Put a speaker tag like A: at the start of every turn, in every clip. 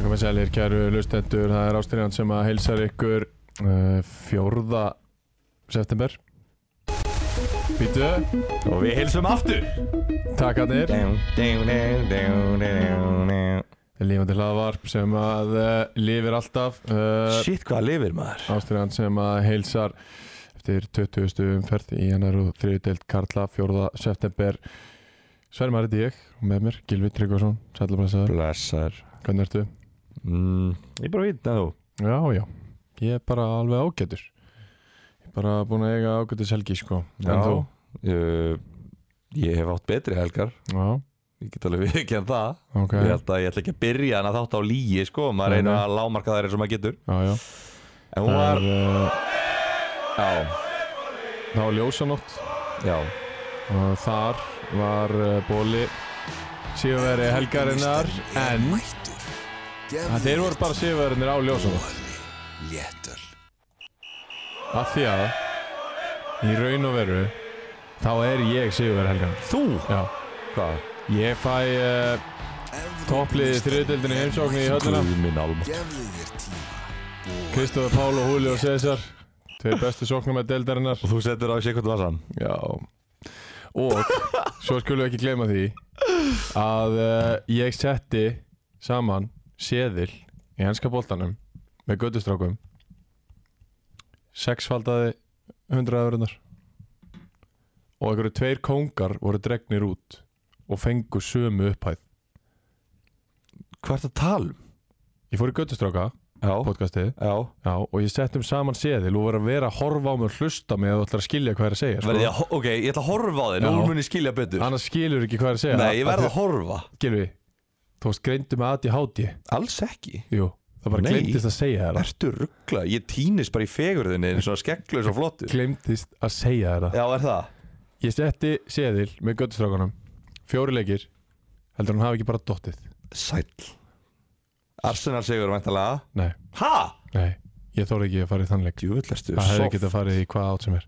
A: Komið sælir, kæru lustendur, það er Ástriðan sem að heilsar ykkur uh, 4. september Býtu,
B: Og við heilsum aftur
A: takarnir
B: Shit,
A: Lífandi hlaðvarp sem að uh, lifir alltaf uh,
B: hvað lifir maður
A: Ástriðan sem að heilsar eftir 20. umferð í hennar og 3. deild Karla 4. september Sverri Marri Dík og með mér Gilvi Tryggvason, sælublessaður,
B: Blessar
A: hvernig ertu?
B: mm, Ég bara veit að þú
A: Já, já, ég er bara alveg ágætur Ég er bara búin að eiga ágætis helgi sko En
B: Já.
A: þú?
B: uh, Ég hef átt betri helgar
A: Já,
B: Ég get alveg ekki en það
A: ok
B: Ég held að ég ætla ekki að byrja hana þátt á líi sko Maður
A: Nei,
B: reynir
A: nei.
B: að lámarka þær eins og maður getur
A: Já, já
B: En hún
A: Það
B: var
A: er, uh,
B: Já,
A: það var ljósanótt
B: já
A: og þar var uh, bóli síðuveri helgarinnar en að þeir voru bara síðuverinir á ljósanótt
C: Léttöl
A: af því að í raun og veru þá er ég síðuveri helgarinnar
B: Þú?
A: Já,
B: Hvað?
A: ég fæ uh, toppliði þriðdeldinu heimsóknu í höllina
B: minn alma
C: Gefðu þér tíma
A: Kristofur Pál og Húli og César tveir bestu sóknum með deildarinnar
B: Og þú setur á sig eitthvað vasan
A: Já Og svo skulum við ekki gleyma því að uh, ég setti saman seðil í henska boltanum með göttustrákum sexfaldaði 100 öðrunar og einhverju tveir kóngar voru dregnir út og fengu sömu upphæð
B: Hvað ertu að tala um?
A: Ég fór í göttustráka
B: Já,
A: podcastið
B: já
A: Já, og ég settum saman seðil og voru að vera að horfa á mig og hlusta mig að þú ætlar að skilja hvað er að segja sko.
B: Verði ég að- Ok, ég ætla að horfa á þig Nú
A: Já.
B: mun ég skilja betur
A: Annars skilur ekki hvað er að segja
B: Nei, ég verð
A: Af
B: að horfa
A: því- Gylfi, þú varst greindu með ADHD
B: Alls ekki
A: Jú, það bara
B: Nei.
A: glemtist að segja þér það
B: Ertu ruggla? Ég týnist bara í fegurðinni eins og skegglaus og flottur
A: Glemtist að segja þér það
B: Já, er það?
A: Ég setti seðil með göttustrákanum Fjóri leikir Heldur hann hafi ekki bara dottið
B: Sæll Arsenal segur væntalega
A: Nei,
B: Ha?
A: nei, ég þóra ekki að fara í þann leik
B: Djúvillastu
A: Það hefði getað farið í hvað átt sem er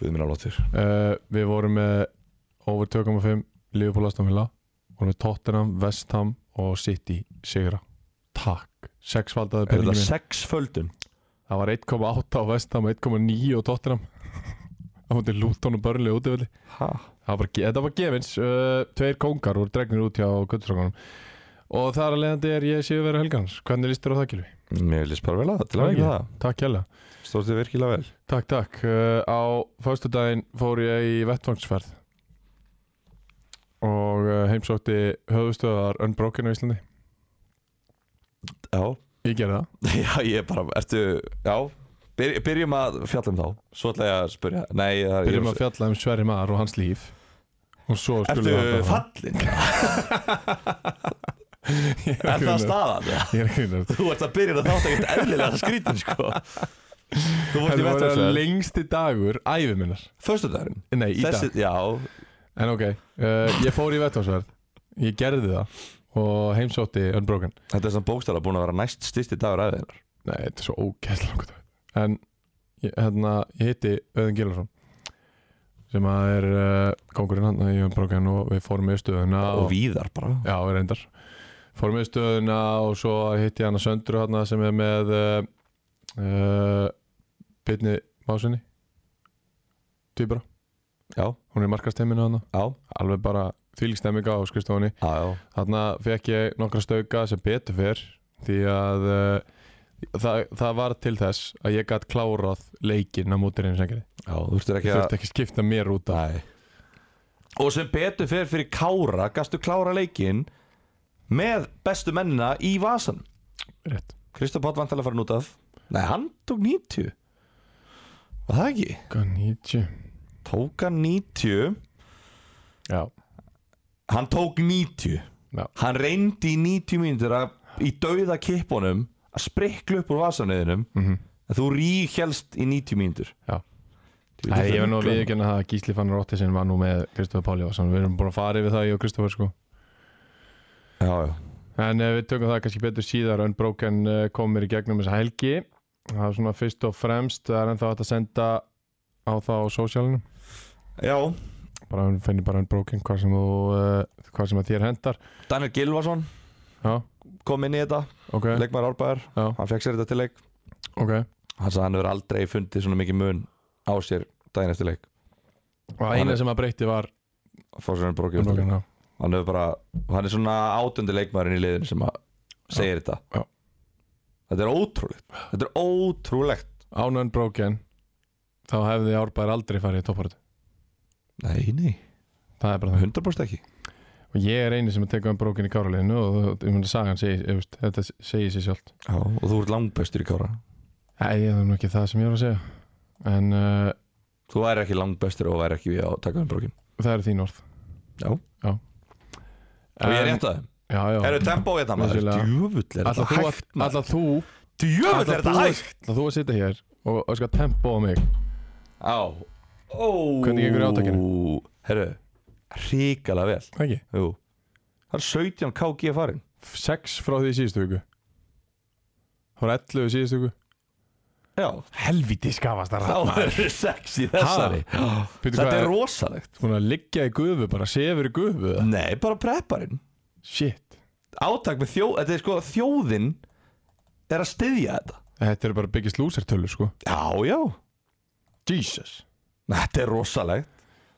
B: Guð minn álóttur
A: uh, Við vorum með over 2.5 Liverpool Aston Villa Vorum með Tottenham, West Ham og City Sigra Takk, sexfaldaði
B: Er
A: peningin
B: þetta
A: minn
B: sex földum?
A: Það var 1.8 á West Ham 1.9 á Tottenham Það var til Luton og Burnley útivillig
B: Ha?
A: Það var bara, ge- þetta var gefins uh, Tveir kongar voru dregnir út hjá Götustrákanum Og þar að leiðandi er ég séu verið helgans Hvernig líst þér á það Gylfi?
B: Mér vil spara vel að það til
A: Það
B: að
A: ekki.
B: ekki það
A: Takk hella
B: Stóðst þið virkilega vel
A: Takk, takk uh, Á föstudaginn fór ég í vettvangsferð Og uh, heimsótti höfustöðar Unbroken á Íslandi
B: Já
A: Ég gerði það
B: Já, ég er bara Ertu Já Byr, Byrjum að fjalla um þá Svo ætla ég að spyrja Nei, það er
A: Byrjum að fjalla um Sverri Mar og hans líf Og svo
B: um
A: skulum við halda
B: Ertu
A: áfram.
B: fallin?
A: Ég er að
B: Er það
A: grínast.
B: staðan?
A: Ég er að grínast
B: Þú ert að byrja að þátt ekkert eðlilega skrítin sko Þú vorst í
A: Þetta var
B: vettvarslega
A: lengsti dagur ævi minnar
B: Föstudagurinn
A: Nei, í
B: Þessi,
A: dag
B: já,
A: En ok, uh, ég fór í vettvarsverð Ég gerði það Og heimsótti Unbroken
B: þetta er svona bókstæla búin að vera næst styrsti dagur af þeirnar
A: Nei, þetta er svo ógæsla langt En ég, hérna, ég hitti Öðun Gilarsson Sem að er uh, kongurinn hann í Unbroken Og við fórum í stöðuna
B: Og víðar bara
A: Já, reyndar Fórum í stöðuna og svo hitti ég hann að Söndru hann sem er með uh, uh, Byrni Másinni Týbra
B: Já,
A: Hún er markasteiminu hann
B: já,
A: alveg bara þvílík stemming á skrifstofunni
B: já, já
A: þarna fekk ég nokkra stauka sem betur fyrr því að uh, það, það var til þess að ég gætt klárað leikinn á móti reynsengri
B: Já, þú þurftir
A: ég
B: ekki
A: þurfti
B: að
A: ekki skipta mér út af
B: Nei Og sem betur fyrir fyrir Kára Gastu klára leikinn Með bestu mennina í vasan
A: rétt
B: Kristof Pátt vantilega farin út af Nei, hann tók 90 Var það ekki?
A: Ganítju
B: Tók hann 90
A: já,
B: Hann tók 90
A: já,
B: Hann reyndi í 90 mínútur að í dauða kippunum að sprikla upp úr vasanöðinum
A: Mhm.
B: en þú ríkjelst í 90 mínútur
A: já Nei, ég verð nú að viðurkenna það að Gísli Fannar Ottisen var nú með Kristofur Páli Jónsson Við erum búin að fara yfir það ég og Kristofur sko
B: Já, já
A: En eh, við tökum það kannski betur síðar Unbroken eh, kom mér í gegnum þessa helgi Það er svona fyrst og fremst Það er ennþá hægt að senda á það á sósjálunum
B: Já,
A: Bara finnir bara Unbroken hvað sem, þú, uh, hvað sem að þér hendar
B: Daniel Gilvason
A: Já,
B: kom inn í þetta
A: ok,
B: Leikmaður árbæðar
A: já,
B: Hann fekk sér þetta til leik
A: ok
B: Hann sagði að hann hefur aldrei fundið svona mikið mun á sér daginn eftir leik
A: Og það eina sem að breytti var
B: Fá sér hann brókið eftir leik.
A: Unbroken já.
B: Hann hefur bara Hann er svona átundi leikmaðurinn í liðinu sem að segir þetta
A: Já.
B: Þetta er ótrúlegt Þetta er ótrúlegt
A: Án Unbroken Þá hefði Árbær aldrei farið í topparötu
B: Nei, nei,
A: Það er bara það
B: 100% ekki
A: og ég er eini sem að teka um brókin í káraleginu og þú- ég myndi sagan segi, ég veist, þetta segir sér sjálft
B: Já, og þú ert langbestur í kára
A: Nei, ég er nú ekki það sem ég er að segja en uh,
B: Þú væri ekki langbestur og væri ekki við að taka um brókin
A: það eru þín orð
B: Já. Og ég er rétt að þeim
A: Já, já
B: Eru tempó hérna maður?
A: Vissulega.
B: Djöfull er þetta
A: Alltaf þú,
B: hægt
A: að-
B: maður
A: ætlar þú,
B: Djöfull er
A: ætlar
B: þetta
A: þú,
B: hægt
A: ætlar þú að sitja hér og, og sko tempo á mig
B: Á Ó
A: Hvernig gengur í átakinu?
B: Herru Ríkala vel
A: Ekki?
B: Jú Það er 17 KG farin
A: 6 frá því í síðustu viku Það var 11 í síðustu viku
B: Já
A: Helviti skafast það
B: Þá eru 6 í þessari Já.
A: Býtu
B: Þetta
A: hvað
B: er
A: er
B: rosalegt
A: Hún er að liggja í gufu bara, sefur í gufu eða?
B: Nei, bara prepparinn
A: Shit
B: Átak með þjóð Þetta er sko þjóðin Er að styðja þetta
A: Þetta eru bara byggist lúsertölu sko
B: Já, já
A: Jesus
B: Þetta er rosalegt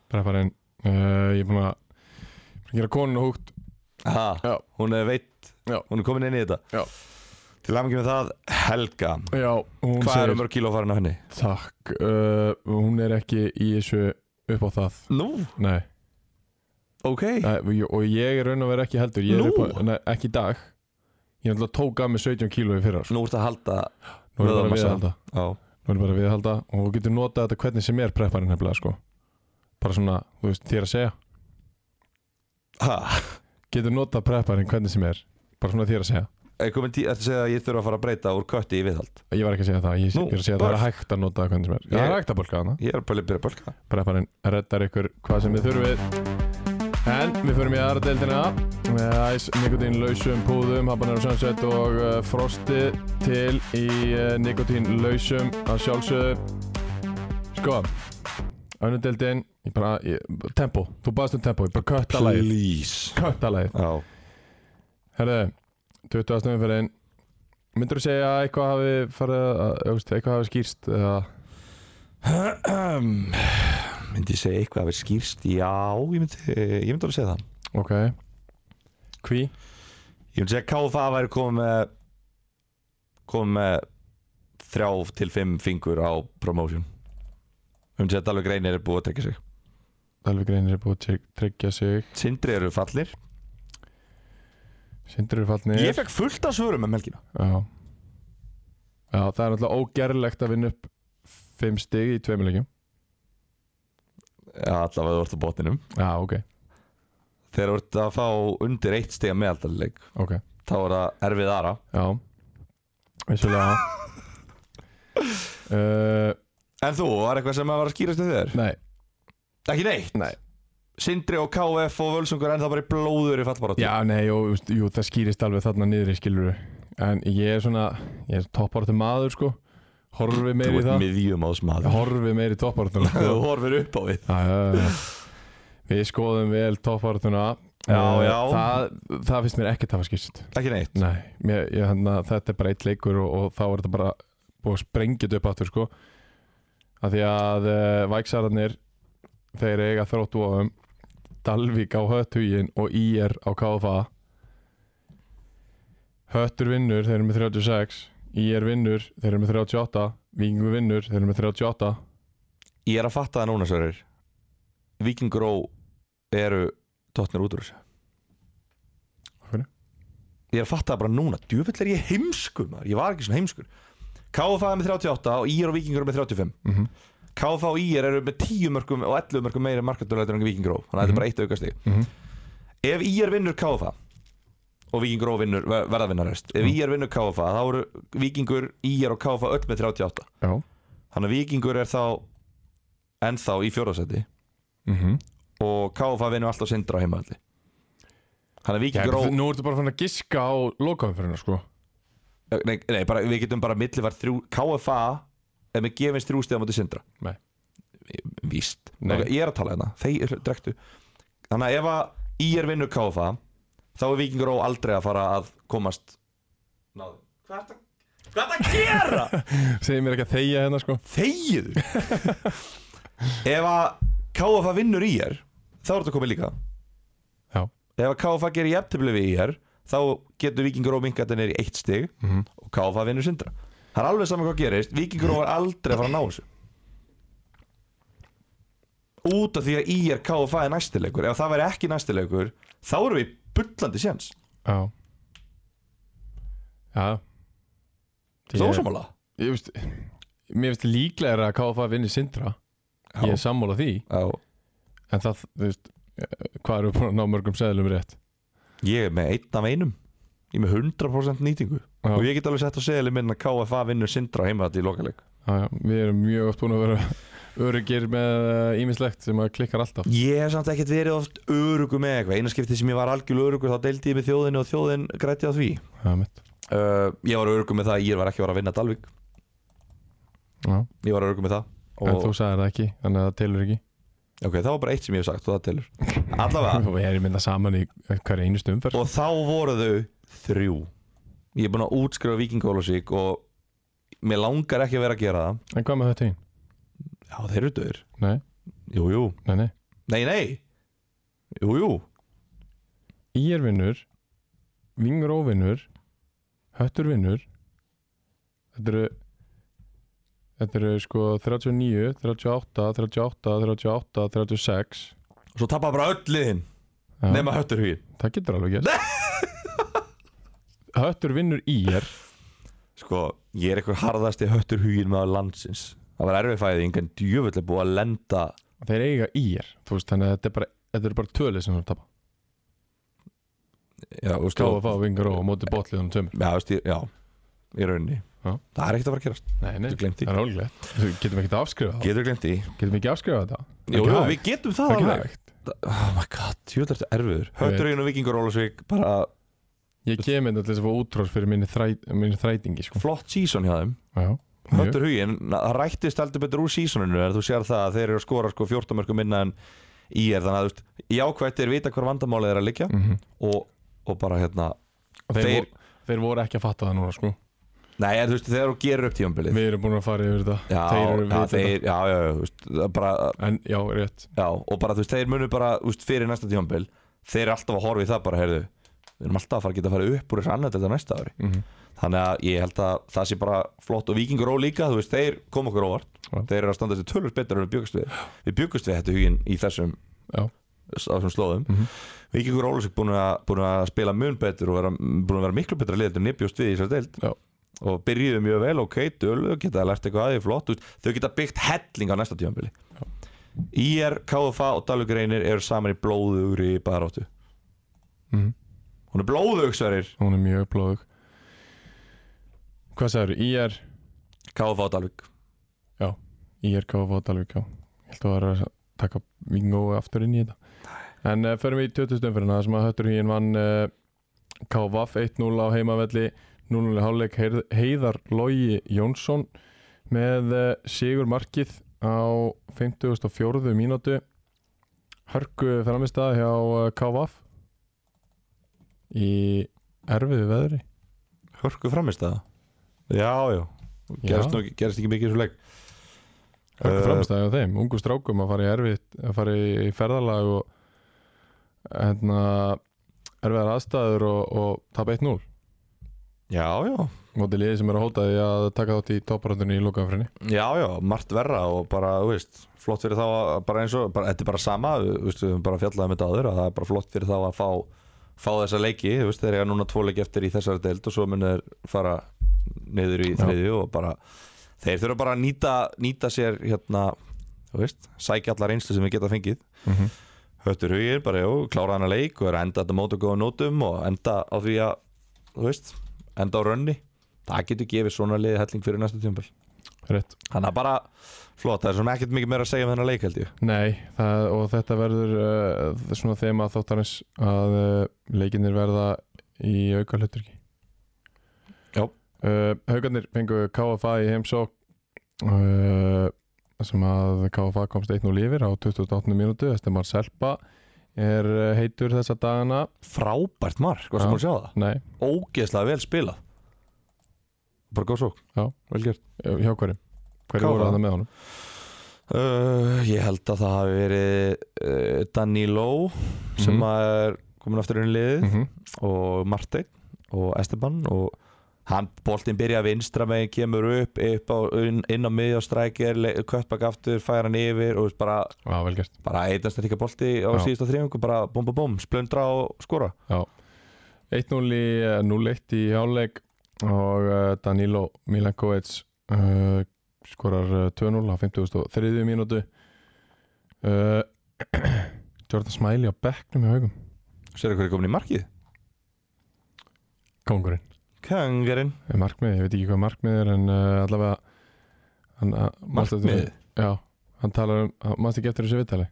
A: prepparinn uh, ég er búinn að búinn að gera konun og húgt
B: ha,
A: Já.
B: Hún er veitt
A: Já.
B: Hún er komin inn í þetta
A: Já.
B: Til að með það Helga
A: já, hún
B: Hvað
A: segir
B: eru mörg kíló farin á henni?
A: takk uh, hún er ekki í þessu upp á það
B: Nú,
A: nei,
B: ok
A: nei og ég- og ég er raun og vera ekki heldur ég er
B: Nú?
A: upp á, nei, ekki í dag ég er náttúrulega tók af mig 17 kíló í fyrra sko.
B: Nú ertu að halda
A: nú er bara
B: vöðvamassa.
A: viðhalda
B: Já,
A: nú er bara viðhalda og þú getur notað þetta hvernig sem er prepparinn hefnilega sko bara svona, þú veist, þér að segja
B: ha,
A: getur notað prepparinn hvernig sem er bara svona þér að segja
B: er komin tí Þetta segja að ég þurfa að fara að breyta úr kötti í viðhald
A: ég var ekki að segja það, ég,
B: Nú,
A: ég er að segja að það er
B: bara-
A: hægt að nota það hvernig sem er það er
B: Ég-
A: hægt að bólka þarna
B: Ég er bara að byrja að bölka
A: prepparinn reddar ykkur hvað sem þið þurfið en við förum í aðra deildina með æs, nikotín lausum púðum habanero sunset og uh, frosti til í uh, nikotín lausum að sjálfsögðu sko önnu deildin ég bara, ég, tempo, þú baðast um tempo ég bara kötta lagið,
B: Please
A: kötta lagið
B: Já,
A: herðu, 20. umferðin myndur þú segja að eitthvað hafi farið, að, þú veist, eitthvað hafi skýrst eða,
B: um, Myndi ég segja eitthvað að vera skýrst Já, ég myndi, ég myndi alveg segja það
A: ok hví,
B: Ég myndi segja að KFA væri komið með komið með þrjá til fimm fingur á promotion Ég myndi segja að Dalvik Reynir er búið að tryggja sig
A: Dalvik reynir er búið að tryg- tryggja sig
B: Sindri eru fallir
A: Sindri er fallnir
B: Ég fekk fullt af svörum um helgina
A: Já. Já, það er náttúrulega ógerlegt að vinna upp fimm stig í tveimur leikjum
B: Já, allavega þú ert á botninum
A: Já, ok,
B: Þegar þú ert að fá undir eitt stiga meðaldalileg
A: ok
B: þá er það erfið aðra
A: Já, vissulega uh,
B: En þú, var eitthvað sem að var að skýrast við þér?
A: Nei,
B: Ekki neitt?
A: Nei.
B: Sindri og KF og Völsungur ennþá bara í blóður í fallbarátt
A: já, nei, jú, veist, jú, það skýrist alveg þarna niður í skiluru En ég er svona, ég er toppartu maður sko Horfi meir
B: Þú
A: í
B: ert
A: það
B: miðjum ás maður
A: Horfi meir í toppartuna
B: Þú
A: sko.
B: horfir upp á við
A: Já, já, já. Við skoðum vel toppartuna
B: Já, já.
A: það, það finnst mér ekkert hafa skýrst
B: Ekki neitt
A: Nei, mér, ég, hana, þetta er bara eitt leikur og, og þá er þetta bara búið að sprengja þetta upp aftur sko af því að uh, væksararnir þeir eiga þróttu á um Dalvík á Höttugin og IR á KFA Höttur vinnur, þeir eru með 36 IR vinnur, þeir eru með 38 Vingu vinnur, þeir eru með 38
B: Ég er að fatta það núna, Sörur Víkingur og eru tóttnir út úr þessu
A: Af hverju?
B: Ég er að fatta það bara núna Djöfell er ég heimskur maður Ég var ekki svona heimskur KF er með 38 og IR og Víkingur eru með 35
A: mm -hmm.
B: KF og IR eru með 10 mörgum og 11 mörgum meira markandurleitur en Víkingur Þannig að þetta er bara eitt aukastig Ef IR vinnur KFA og Víkingur og vinnur, ver- verða vinnar rest Ef IR vinnur KFA þá eru Víkingur, IR og KFA öll með 38
A: Já,
B: Þannig að Víkingur er þá ennþá í fjórðarsæti Mhm. og KFA vinnur alltaf sindra á heimavalli Þannig að Víking Ró
A: Nú ertu bara fann að giska á lokaumferðina sko
B: Eh, nei, nei, bara, við getum bara millivart þrjú KFA er með gefins þrjú stiða mútið sindra
A: Nei.
B: Víst
A: Nei.
B: Ok, Ég er að tala hérna, þeir drektu Þannig að ef að í er vinnur KFA þá er Víking Ró aldrei að fara að komast Náðu Hvað er þetta að gera?
A: Segir mér ekki að þegja hérna sko
B: Þegið Ef að KFA vinnur í er þá er þetta komið líka
A: Já
B: Ef að KFA gerir jafntefli við IR þá getur Víkingur og mingatir neyri eitt stig og KFA vinnur sindra Það er alveg saman hvað gerist, Víkingur og er aldrei að fara að ná þessu Út af því að IR KFA er næstilegur ef það væri ekki næstilegur þá erum við í bullandi séns
A: Já Já Ég-
B: Þú ósammála?
A: Ég veist Mér finnst líklega að KFA vinni Sindra Ég er sammála því
B: Já,
A: En það, þú veist Hvað eru búin að ná mörgum seðlum rétt
B: ég er með einn af einum Ég er með 100% nýtingu
A: Já.
B: og ég get alveg sett að segja minn að KFA vinnur sindra heimaðat í lokaleg
A: Já, já, Við erum mjög oft búin að vera Örugir með ímislegt sem að klikkar alltaf
B: Ég hef samt ekkert verið oft örugu með eitthvað Eina skipti sem ég var algjörlega örugur þá deildi ég með þjóðinni og þjóðin grætti á því
A: Já, mitt
B: uh, Ég var örugu með það að ég var ekki að fara að vinna Dalvik
A: Já
B: Ég var örugu með það
A: En
B: og,
A: þú sagðir það ekki, þannig að það telur ekki
B: Ok, það var bara eitt sem ég hef sagt og það telur Allavega
A: Við erum mynda saman í hverju einustu umferð
B: Og þá voru þau þrjú Ég er búinn að útskrifa vikingólusík og mér langar ekki að vera að gera það
A: En hvað með þetta einn?
B: Já, þeir eru döður
A: Nei,
B: Jú, jú
A: nei, nei
B: Nei, nei Jú, jú
A: Ír vinnur Vingur óvinnur Höttur vinnur Þetta eru Þetta eru sko 39, 38, 38, 38, 36
B: Svo tappa bara öll liðin
A: Já,
B: nema höttur hugin
A: Það getur alveg gæst Höttur vinnur ír
B: Sko, ég er eitthvað harðasti höttur hugin með landsins Það var erfið fæðing en djöfull er búið að lenda
A: Þeir eiga ír Þú veist þannig að þetta er bara Þetta eru bara tölið sem þú tapa
B: Já, þú veist,
A: Káfa fá vingur og á móti botliðunum tömur
B: Já, þú veist, ég- já, í rauninni
A: Já.
B: Það er ekkert að fara að gerast
A: Nei, nei,
B: Þú gleymdi.
A: það er ólíklegt Þú getum ekki að afskrifa það
B: Getur glemt því
A: Getum ekki að afskrifa þetta
B: Jú,
A: Ekki
B: jú,
A: hægt.
B: við getum
A: Það
B: það
A: er ekki
B: alveg
A: hægt
B: Oh my god, jú, þetta er erfiður
A: veit.
B: Hötturinn og vikingur Ólasvík, bara
A: Ég kem inn til þess að fá útrás fyrir minni, þræt, minni þrætingi sko.
B: flott síson hjá þeim
A: Já, mjög.
B: Höttur hugin, það rættist heldur betur úr sísoninu En þú sér það að þeir eru að skora sko 14 mörgum minna en í er Þannig að þú veist, jákvætt er vita hvar vandamálið er að liggja
A: Mhm.
B: og, og bara hérna
A: þeir, voru,
B: þeir-
A: þeir voru ekki að fatta það núna sko.
B: Nei, en þú veist, þegar þú gerir upp tímabilið
A: Við erum búin að fara yfir þetta
B: Já,
A: Þeir eru
B: já,
A: vitað
B: þeir, já, já, já, þú veist, það bara,
A: En já, rétt
B: já, og bara þú veist, þeir munu bara, þú veist, fyrir næsta tímambil, þeir eru alltaf að horfa í það bara, heyrðu, við erum alltaf að fara að geta að fara upp úr þessu annað þetta næsta ári.
A: mm
B: Þannig að ég held að það sé bara flott og vikingur ó líka, þú veist, þeir kom okkur óvart,
A: Já.
B: þeir eru að standa þessi tölvöld betur en við byggust við, við byggust við þetta huginn í þessum,
A: Já.
B: á þessum slóðum.
A: Mhm.
B: Vikingur Ólafsvík búin, að- búin að spila mun betur og vera, búin að vera miklu betra liðið en ég bjóst við í þessar deild
A: Já.
B: og byrjuðu mjög vel, ok, dölu geta lært eitthvað aðeins flott, þú veist, þau geta byggt helling á næsta tímanbili IR, KFA og Dalugreinir eru saman í blóðugri baráttu
A: Mhm.
B: Hún er blóðugsverir
A: Hún er mjög blóðug Hvað sagður? IR
B: KFA og Dalvik
A: IR KF og Dalvík já. Ég held að það var að taka vingó aftur inn í þetta En uh, förum við í 2000 umfyrirna Það sem að höttur hýinn vann uh, KVAF 1-0 á heimavelli 0-0 í hálfleik Heir- Heiðar Logi Jónsson með uh, sigur markið á 54. mínútu Hörku framistað hjá uh, KVAF í erfiðu veðri
B: Hörku framist það Já, já, gerist, nú, gerist ekki mikið í svo leik
A: Hörku
B: Eh,
A: framstæði á þeim, ungu strákum að fara í erfitt, að fara í ferðalag og hérna erfiðar aðstæður og, og tapa 1-0
B: Já, já,
A: mótið liði sem er að hóta því að taka þátt í topparöndunni í lokaðanfrinni
B: já, já, margt verra og bara, þú veist, flott fyrir þá að bara eins og, bara, þetta er bara sama þú veist, við höfum bara fjallaðum þetta áður að það er bara flott fyrir þá að fá, fá þessa leiki þú veist, þeir eru núna tvo leiki eftir í þessari deild og svo munir þeir fara niður í
A: Já.
B: þriðju og bara þeir þurfa bara að nýta, nýta sér hérna, þú veist, sækja allar einslu sem við geta fengið
A: mm -hmm.
B: höttur hugir, bara jú, klára hana leik og er að enda þetta mót á góða nótum og enda á því að, þú veist, enda á rönni það getur gefið svona liði helling fyrir næsta tjömbil
A: rétt
B: Þannig að bara flott, það er svona ekkert mikið meira að segja um þennan leik held ég
A: Nei, það, og þetta verður uh, svona þema þáttarins að uh, leikinir verða í auka hluturki
B: Já.
A: uh, Haukarnir fengu KFA í heimsók uh, sem að KFA komst 1-0 yfir á 28. mínútu Þetta er Marcelpa er uh, heitur þessa dagana
B: Frábært mark, hvað
A: Já.
B: sem búin að sjá það
A: Nei,
B: Ógeðslega vel spilað Bara góð sók
A: Já.
B: Vel gert
A: hjá hverjum? Hverju
B: KFA?
A: voru það með honum?
B: uh, Ég held að það hafi verið uh, Danilo sem
A: Mhm.
B: er komin aftur inn í liðið
A: Mm
B: Mhm. og Marteinn og Esteban og hann, boltinn byrja að vinstra meginn kemur upp, upp á, inn, inn á miðjastrækir, köttbak aftur færa hann yfir og bara,
A: Já, vel gert
B: bara eitast að tíka bolti á
A: Já.
B: síðasta þrjöfingu bara bum bum bum, splundra og skora
A: 1-0 í eh, 0-1 í hálfleik og eh, Danilo Milankovic uh, skorar eh, 2-0 á 53. mínútu uh, Jordan Smiley á bekknum í haugum
B: Sér hverju komin í markið?
A: kongurinn,
B: Kangarinn
A: er Eh, markmiðið, ég veit ekki hvað markmiðið er en uh, allavega hann, uh, manstu eftir-
B: Markmiðið?
A: Já, hann talar um, hann mannst ekki eftir þessu viðtali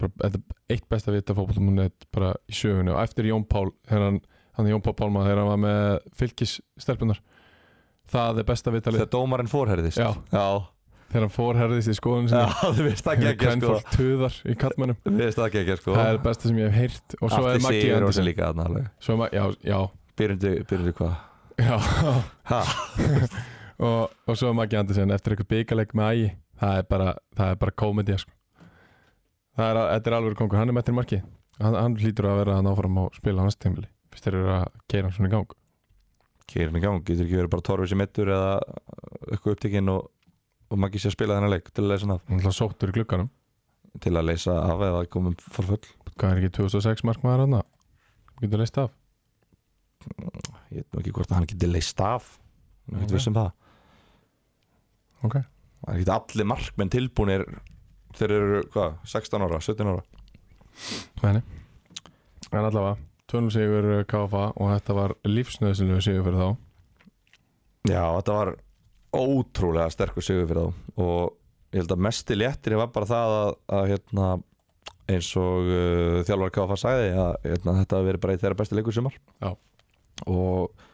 A: bara, þetta er eitt besta viðtal fótboltamunni bara í sögunni og eftir Jón Pál þegar hann, hann Jón Pál Pálma þegar hann var með fylgisstelpunar það er besta viðtalið
B: Þegar dómarinn fórherðist
A: Já.
B: Já,
A: þegar hann fórherðist í skoðun
B: Já
A: sinni
B: þú veist það
A: þegar
B: gekkja sko
A: kvennfólk tuðar í kallmennum
B: Þú veist það gekkja sko
A: það er það besta sem ég hef heyrt og svo er
B: Atli
A: Maggi
B: Sigurjónsson
A: Andersen
B: líka þarna alveg
A: svo er Maggi, já, já,
B: Byrjundu, byrjundu hvað?
A: já
B: Ha?
A: og, og svo er Maggi Andersen eftir eitthvað byggaleg með ægi það er bara, það er bara komedi sko. það er, þetta er alveg kongur, hann er mættir í marki hann, hann lítur að vera hann áfram og spila á hans tímili fyrst þeir eru að keira hann svona í gang
B: Keirin í gang, getur ekki verið bara torfið sem ettur eða eitthvað upptekinn og, og maður ekki sé að spila þennan leik til að leysa hann af
A: hann er alltaf sóttur í glugganum
B: til að leysa af eða komum fór full
A: hvað er ekki 2006 markmaður hann getur leist af
B: ég veit nú ekki hvort að hann getur leyst af ég veit
A: Ok.
B: okay. vissum um það
A: Ok.
B: það er ekki allir markmenn tilbúinir þeir eru hvað, 16 ára, 17 ára
A: Meni. en allavega 200 sigur uh, KFA og þetta var lífsnöðsynlegu sigur fyrir þá
B: já, þetta var ótrúlega sterkur sigur fyrir þá og ég held að mesti léttir var bara það að, að hérna, eins og uh, þjálfar KFA sagði að hérna, þetta hafi verið bara eitt þeirra besti leikur í sumar
A: Já.
B: og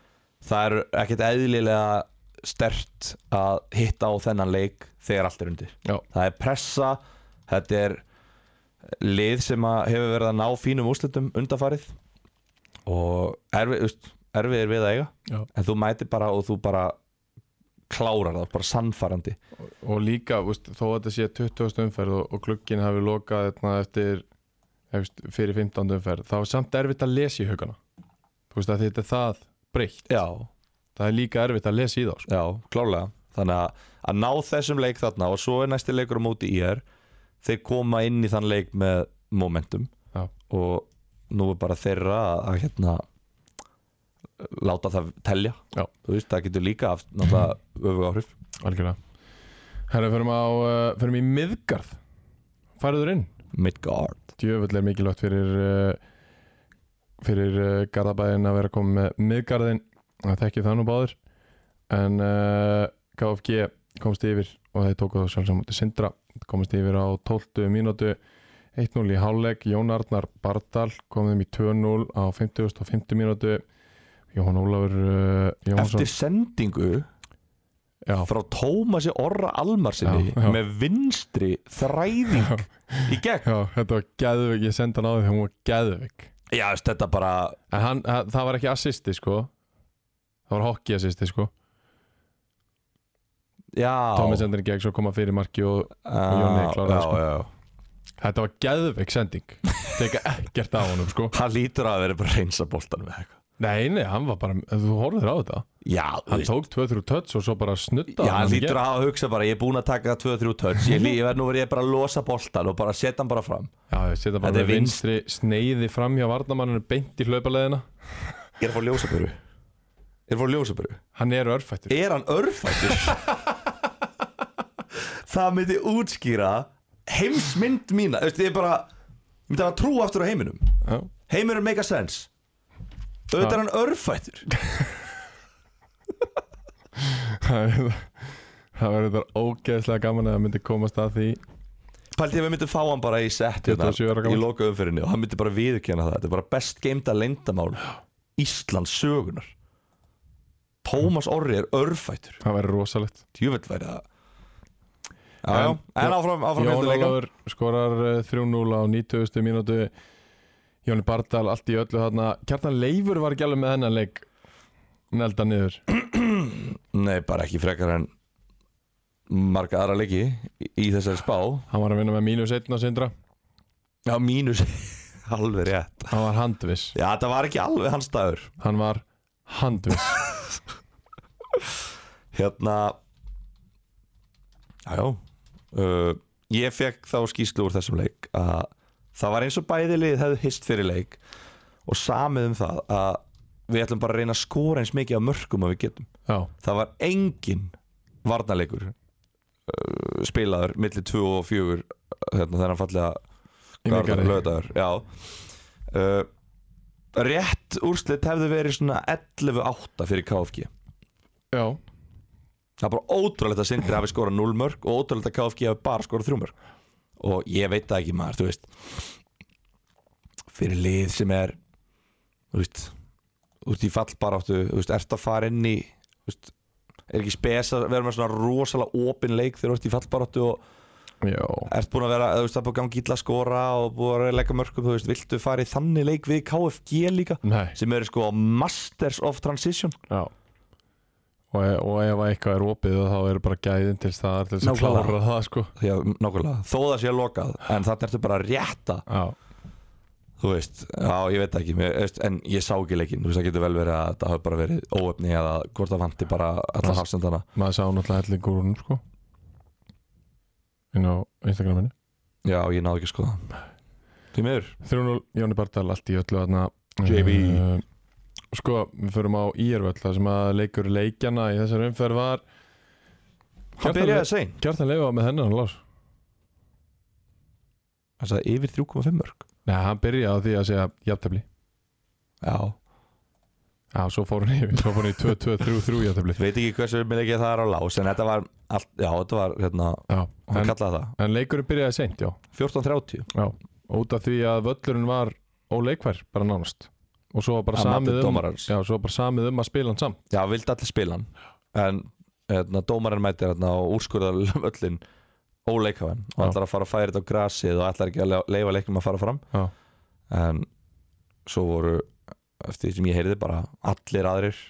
B: það er ekkert eðlilega stert að hitta á þennan leik þegar allt er undir
A: Já.
B: það er pressa, þetta er lið sem að hefur verið að ná fínum úrslitum undanfarið og erfið veist, erfið er við að eiga
A: Já.
B: en þú mætir bara og þú bara klárar það, bara sannfærandi
A: og líka, þú veist, þó að þetta sé 20. umferð og, og glukkin hafi lokað hérna, eftir, eftir fyrir 15. umferð þá er samt erfitt að lesa í haugana þú veist að þetta er það breytt
B: já,
A: það er líka erfitt að lesa í þá sko.
B: já, klárlega þannig að, að ná þessum leik þarna og svo er næsti leikur á móti í er þeir koma inn í þann leik með momentum
A: Já.
B: og nú er bara þeirra að, að hérna láta það telja
A: Já.
B: þú veist, það getur líka haft náttúrulega öfuga áhrif
A: algjörlega sko. herra, förum, á, uh, förum í miðgarð fariður inn
B: Midgard
A: djöfull er mikilvægt fyrir uh, fyrir uh, Garðabæðin að vera komið með miðgarðin það þekki það nú báður en uh, KFG komst yfir og þeir tóku þá sjálfsagt mútið Sindra komist yfir á 12 mínútu 1-0 í hálfleik, Jón Arnar Bardal kom þeim í 2-0 á 50 og 50 mínútu Jón Ólafur uh, Jónsson
B: eftir sendingu
A: já,
B: frá Tómasi Orra Almarsinni
A: Já, já.
B: með vinstri þræðing í gegn
A: já, þetta var geðvig, ég sendi hann á því þegar hún var geðvig
B: Já, veist, þetta bara
A: en hann, hann, það var ekki assisti sko það var hockey assisti sko
B: Já,
A: Tommy sendir í gegn svo koma fyrir marki og
B: og
A: Jonni kláraði,
B: já,
A: sko.
B: já.
A: þetta var geðveik sending teka ekkert á honum sko
B: Hann lítur að vera bara að reynsa boltanum með eitthvað
A: nei, nei, hann var bara, þú horfður á þetta
B: Já, þú
A: hann tók
B: veist
A: 2-3 touch og svo bara snutta
B: Já, hann lítur að hugsa bara, ég er búinn að taka 2-3 touch Ég, lí- ég verð nú verið bara að losa boltan og bara setja hann bara fram
A: já, ég setja bara
B: Þetta er
A: með vinstri sneiði fram hjá varnamanninu beint í hlaupaleðina
B: Ég er að fá ljósaböru Ég er að fá ljósaböru
A: hann er örfættur
B: Er hann örfættur? það myndi útskýra heimsmynd mína Þú veist, Ég er bara Ég myndi að trú aftur á heiminum
A: já,
B: Heiminum make a sense Auðvitað er hann örfættur
A: það er- Það verður þetta ógeðslega gaman að það myndi komast að því
B: Pældi ég að við myndum fá hann bara í sett hérna,
A: 27 ára
B: Í
A: gamall.
B: loka umfyrinni og hann myndi bara viðurkenna það Þetta er bara best geimda leyndamál Íslands sögunar Tómas Orri er örfætur
A: Það verður rosalegt
B: Djúvöld væri það Já, já, en áfram, áfram
A: Jón
B: hérna leika
A: Ólafur skorar eh, 3-0 á 90. mínútu Jóni Bardal allt í öllu þarna Kjartan Leifur var ekki alveg með hennan leik Nelda niður
B: Nei, bara ekki frekar en marga aðra leiki í, í þessari spá
A: Hann var að vinna með mínus 1 á sindra
B: Já, mínus Alveg rétt
A: Hann var handviss
B: Já, þetta var ekki alveg hans dagur
A: Hann var handviss
B: Hérna Jájá uh, Ég fekk þá skýslu úr þessum leik að það var eins og bæði lið hefðu hist fyrir leik og samið um það að við ætlum bara að reyna að skora eins mikið af mörgum að við getum
A: Já,
B: það var engin varnarleikur uh, spilaður milli 2 og 4 hérna, þennan fallega
A: í mikari
B: lögðaður Já uh, Rétt úrslit hefðu verið svona 11-8 fyrir KFG
A: Já,
B: Það er bara ótrúlegt að Sindri hafi skorað 0 mörg og ótrúlegt að KFG hafi bara skorað 3 mörg og ég veit það ekki maður, þú veist fyrir lið sem er þú veist út í fallbaráttu, þú veist, ert að fara inn í þú veist, er ekki spes að vera með svona rosalega opin leik þegar þú ert í fallbaráttu og
A: já
B: ert búin að vera, þú veist, það er búin að gangi illa að skora og búin að vera að leggja mörgum, þú veist, viltu fara í þannig leik við KFG líka
A: Nei,
B: sem eru sko Masters of Transition
A: já Og, e-, og ef eitthvað er opið þá eru bara gæðin til staðar til þess að
B: Nákvæmlega.
A: klára það sko
B: því að nákvæmlega, þó það sé lokað en þarna ertu bara að rétta
A: Já,
B: þú veist, já ég veit það ekki mér, veist, en ég sá ekki leikinn, þú veist það getur vel verið að það hafi bara verið óöfni eða hvort það vanti bara alla
A: Mas-
B: hafsendana
A: maður sá náttúrulega helling úr húnum sko inn á Instagraminu
B: já ég náðu ekki að skoða því miður,
A: 3-0, Jóni Bardal allt í öllu þarna
B: JB.
A: Eh, Sko, við förum á Írvöll þar sem að leikur leikjana í þessar umferð var
B: hann byrjaði að segja
A: Kjartan Leifa með hennan lás
B: hann sagði yfir 3,5 mörg
A: Nei, hann byrjaði á því að segja jafntefli
B: já,
A: Já, svo fór hann yfir, svo fór hann í 2-2-3-3 jafntefli
B: ég veit ekki hversu mér leikið það er á lás en þetta var, allt, já þetta var hérna,
A: Já,
B: hann
A: en,
B: kallaði það
A: en leikurinn byrjaði seint, já
B: 14.30
A: Já, út af því að völlurinn var óleikvær, bara nánast og svo var bara
B: Að mati
A: samið um
B: dómarans.
A: Já, svo var bara samið um að spila hann samt
B: Já, vildi allir spila hann En hérna, dómarinn mætir hérna og úrskurðar öllin óleikhafann og
A: Já.
B: ætlar að fara að færa þetta á grasið og ætlar ekki að le- leyfa leiknum að fara fram
A: Já,
B: en svo voru eftir því sem ég heyrði bara allir aðrir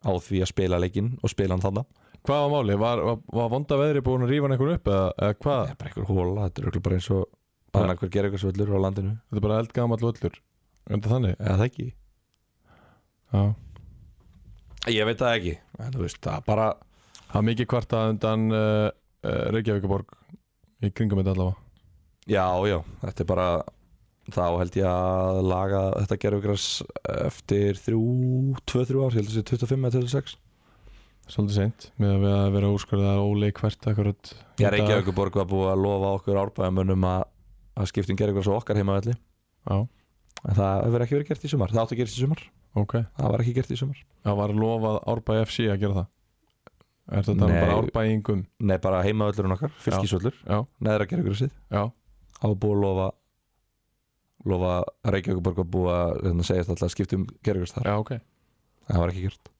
B: á því að spila leikinn og spila hann þannig
A: Hvað var málið? Var, var, var vonda veðri búin að rífa hann einhvern upp eða, eða
B: Það
A: hvað?
B: er bara einhver hóla, þetta er örugglega bara eins og bara einhver gera eitthvað svöllur á landinu
A: Þetta er bara eldgamall völlur Undir þannig?
B: eða það ekki
A: Já
B: Ég veit það ekki, en þú veist, það er bara
A: Það er mikið kvartað undan uh, uh, Reykjavíkuborg í kringum þetta allavega
B: Já, já, þetta er bara þá held ég að laga þetta gerfugras eftir þrjú, tvö, þrjú ár, ég held að það sé 25 eða 26
A: Svolítið seint með að við að vera úrskurðað óleikvært akkurat í
B: Já,
A: dag.
B: Reykjavíkuborg var búið að lofa okkur árbæðamönnum að, að skiptum gerfugras á okkar heimavelli
A: Já,
B: en það hefur ekki verið gert í sumar, það átti að gerast í sumar
A: ok
B: það var ekki gert í sumar
A: Það var lofað Árbæ FC að gera það Er þetta
B: Nei.
A: bara árbæingum?
B: Nei, bara heimavellurinn okkar, fylkisvöllur,
A: Já,
B: neðra gerfugrasið
A: já,
B: það var búið að lofa lofa að Reykjavíkuborg var búið að hérna, segja alltaf að skiptum gerfugras þar
A: já, ok
B: það var ekki gert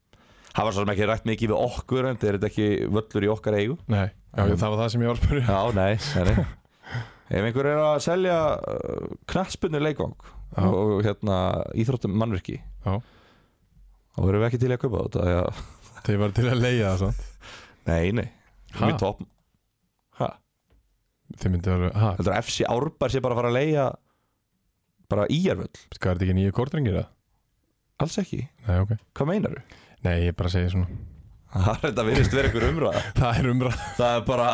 B: það var svo sem ekki rætt mikið við okkur en þetta er þetta ekki völlur í okkar eigu
A: Nei, já,
B: Um.
A: það var það sem ég var að spyrja
B: já, nei, nei, nei. ef einhver er að selja knatspunni leikvang
A: Já.
B: og hérna íþróttum mannverki
A: Já.
B: þá erum við ekki til í að kaupa þetta já.
A: Þegar ég var til að leiða það sant?
B: nei, nei,
A: Ha?
B: við topp ha?
A: Þið myndi að vera, ha,
B: heldur að FC Árbær sé bara að fara að leia bara íjarvöll,
A: hvað Sko, er þetta ekki nýju kortringir það?
B: alls ekki
A: Nei, ok
B: hvað meinaru?
A: Nei, ég bara segi svona
B: þetta virðist verið einhver umræða
A: Það er umræð
B: það er bara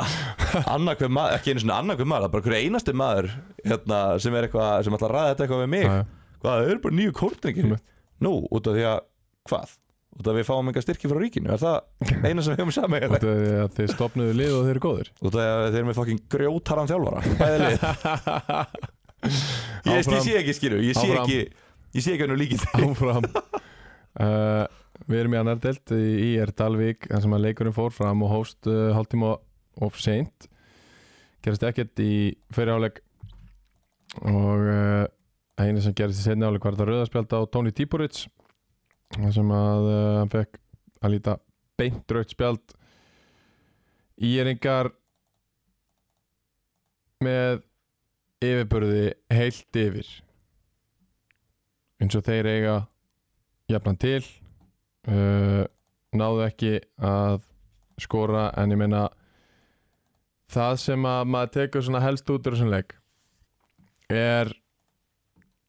B: annarkveð maður, ekki einu svona annarkveð maður það er bara hverju einasti maður hérna, sem er eitthvað, sem ætlar að ræða þetta eitthvað með mig hvað, það eru bara nýju kórtringir
A: Einmitt.
B: nú, út af því að, hvað? út af því að við fáum enga styrki frá ríkinu, er það eina sem við höfum saman
A: Þú veit að þið stopnuðu lið og þeir eru góðir
B: út af því að þeir eru með fokkin grjótaran þjálfara bæði lið, ég, ég
A: Áfram. este
B: sé ekki skýru ég sé
A: Áfram.
B: ekki, ég sé ekki hvernig líkið
A: Áfram uh, Við erum í annar delt í í er Dalvík þar sem að leikurinn fór fram og hóst uh, hálftíma of seint gerist ekkert í fyrir áleik og uh, einu sem gerist í seinni áleik var þetta rauðarspjald á Tony Tíburic þar sem að uh, hann fekk að líta beint rautt spjald í eringar með yfirburði heilt yfir eins og þeir eiga jafnan til uh, náðu ekki að skora en ég meina það sem að maður tekur svona helst út úr þessum leik er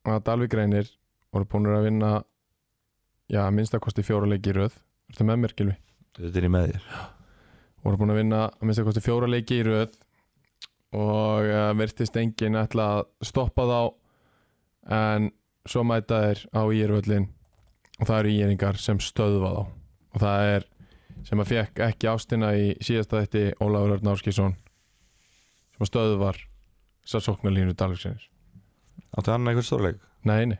A: að Dalvík reynir voru búinir að vinna já, minnstakosti fjóra leiki í röð Ertu með mér, Gilvi?
B: Þetta er í með þér
A: voru búin að vinna að minnst kosti fjóra leiki í röð og uh, virtist enginn ætla að stoppa þá en svo mæta þeir á írvöllin og það eru íringar sem stöðva þá og það er sem að fekk ekki ástina í síðasta þætti Ólafur Örn Áskísson sem að stöðvar sarsóknarlínu Dalvíksinir
B: Áttu hann einhvern stórleik?
A: Nei, nei,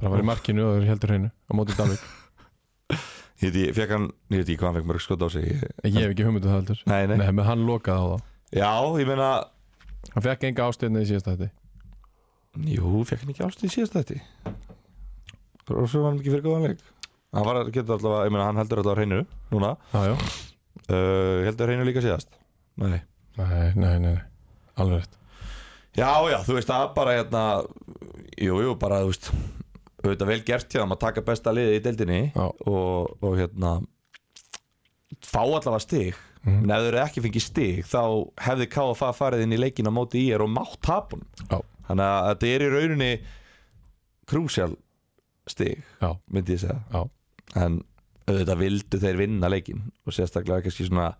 A: bara var í markinu og þeir heldur hreinu á móti Dalvík
B: Ég veit ekki, fekk hann, ég veit ekki hvað hann fekk mörg skot á sig ég,
A: Ég hef ekki hugmyndu það heldur
B: Nei, nei,
A: Nei, menn hann lokaði á þá
B: Já, ég meina
A: Hann fekk enga ástina í síðasta þætti
B: Jú, fekk hann ekki ástu í síðast þetta Og svo var hann ekki fyrir góðan leik Hann var að geta allavega, ég meina hann heldur allavega hreinu Núna,
A: Já, já
B: uh, heldur hreinu líka síðast Nei
A: Nei, nei, nei, nei. alveg rétt
B: Já, já, þú veist það bara hérna Jú, jú, bara þú veist auðvitað vel gert hjá þeim að taka besta liðið í deildinni
A: Já.
B: og, og hérna fá allavega stig
A: Mhm.
B: en ef þau eru ekki fengið stig þá hefði KFA farið inn í leikin á móti í er og mátt tapun
A: Já.
B: þannig að þetta er í rauninni krúsjál stig
A: Já.
B: myndi ég segja
A: Já.
B: en auðvitað vildu þeir vinna leikin og sérstaklega kannski svona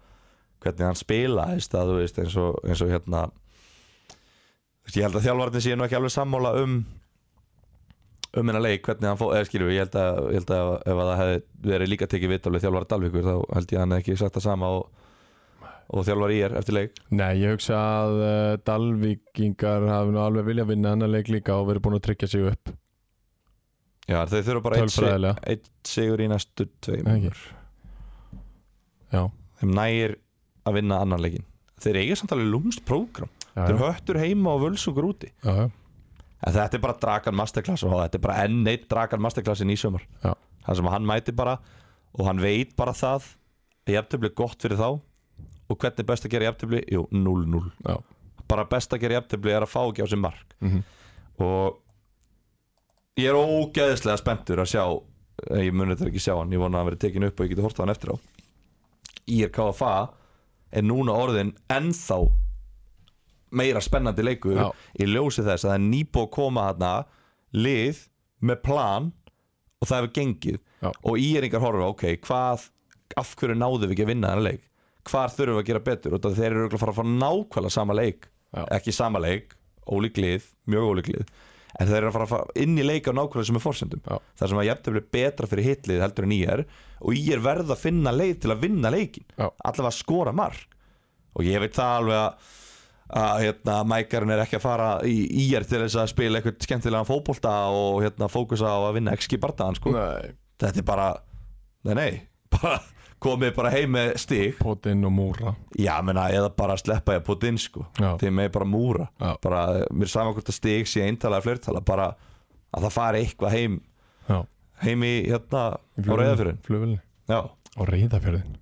B: hvernig hann spilaðist að þú veist eins og, eins og hérna Þú veist, ég held að þjálfarnir séu nú ekki alveg sammála um um hennar leik hvernig hann fó, eða skilur við, ég held að, ég held að ef, ef að það hefði verið líka tekið vitt alveg þjálfara Dalvíkur þá held ég að hann hefði ekki sagt það sama og, og þjálfara í er eftir leik
A: Nei, ég hugsa að uh, Dalvíkingar hafi nú alveg vilja vinna annan leik líka og verið búin að tryggja sig upp
B: Já, þau þurfa bara eitt, sig,
A: tölfræðilega
B: eitt sigur í næstu tveim
A: Nei, ekki. Já,
B: þeim nægir að vinna annan leikin þeir eiga samt alveg lúmst prógram
A: já, já,
B: þeir eru höttur heima og völsungur úti
A: já,
B: en þetta er bara Dragan Masterclass og þetta er bara enn eitt Dragan Masterclassin í sömur
A: Já.
B: það sem hann mæti bara og hann veit bara það að jafntöfli er gott fyrir þá og hvernig er best að gera jafntöfli? Jú, 0-0
A: já.
B: bara best að gera jafntöfli er að fá ekki á sig mark
A: Mhm.
B: og ég er ógeðislega spenntur að sjá eh, ég muni þetta ekki sjá hann, ég vona að hann verið tekin upp og ég geti horta hann eftir á IRKFA er núna orðin ennþá meira spennandi leikur
A: Já.
B: í ljósi þess að það er nýbúið að koma hérna lið með plan og það hefur gengið
A: Já.
B: og íringar horfa, ok, hvað af hverju náðum við ekki að vinna þennan leik hvar þurfum við að gera betur og þeir eru örugglega að fara að fara nákvæmlega sama leik
A: Já.
B: ekki sama leik, ólík lið mjög ólík lið en þeir eru að fara að fara inn í leika á nákvæmlega sem er forsendum
A: Já.
B: þar sem að jafntöfli er betra fyrir hitlið heldur en ég er og ég er verð að finna leið til að vinna leikin
A: Já.
B: allavega að skora mark og ég veit það alveg að að hérna, mækarinn er ekki að fara í íjar til þess að spila eitthvað skemmtilegan fótbolta og hérna, fókusa á að vinna XG bardaðan sko.
A: Nei,
B: þetta er bara, nei nei bara, komið bara heim með stig
A: potinn og múra
B: já, menna, eða bara sleppa ég að pota inn sko.
A: Já.
B: þeim með bara múra
A: Já.
B: bara, mér er saman hvort að stig sé eintala eða flertala, bara að það fari eitthvað heim
A: Já,
B: heim í hérna á reyðafjörðin
A: Flugvölinni
B: já,
A: Og reyðafjörðin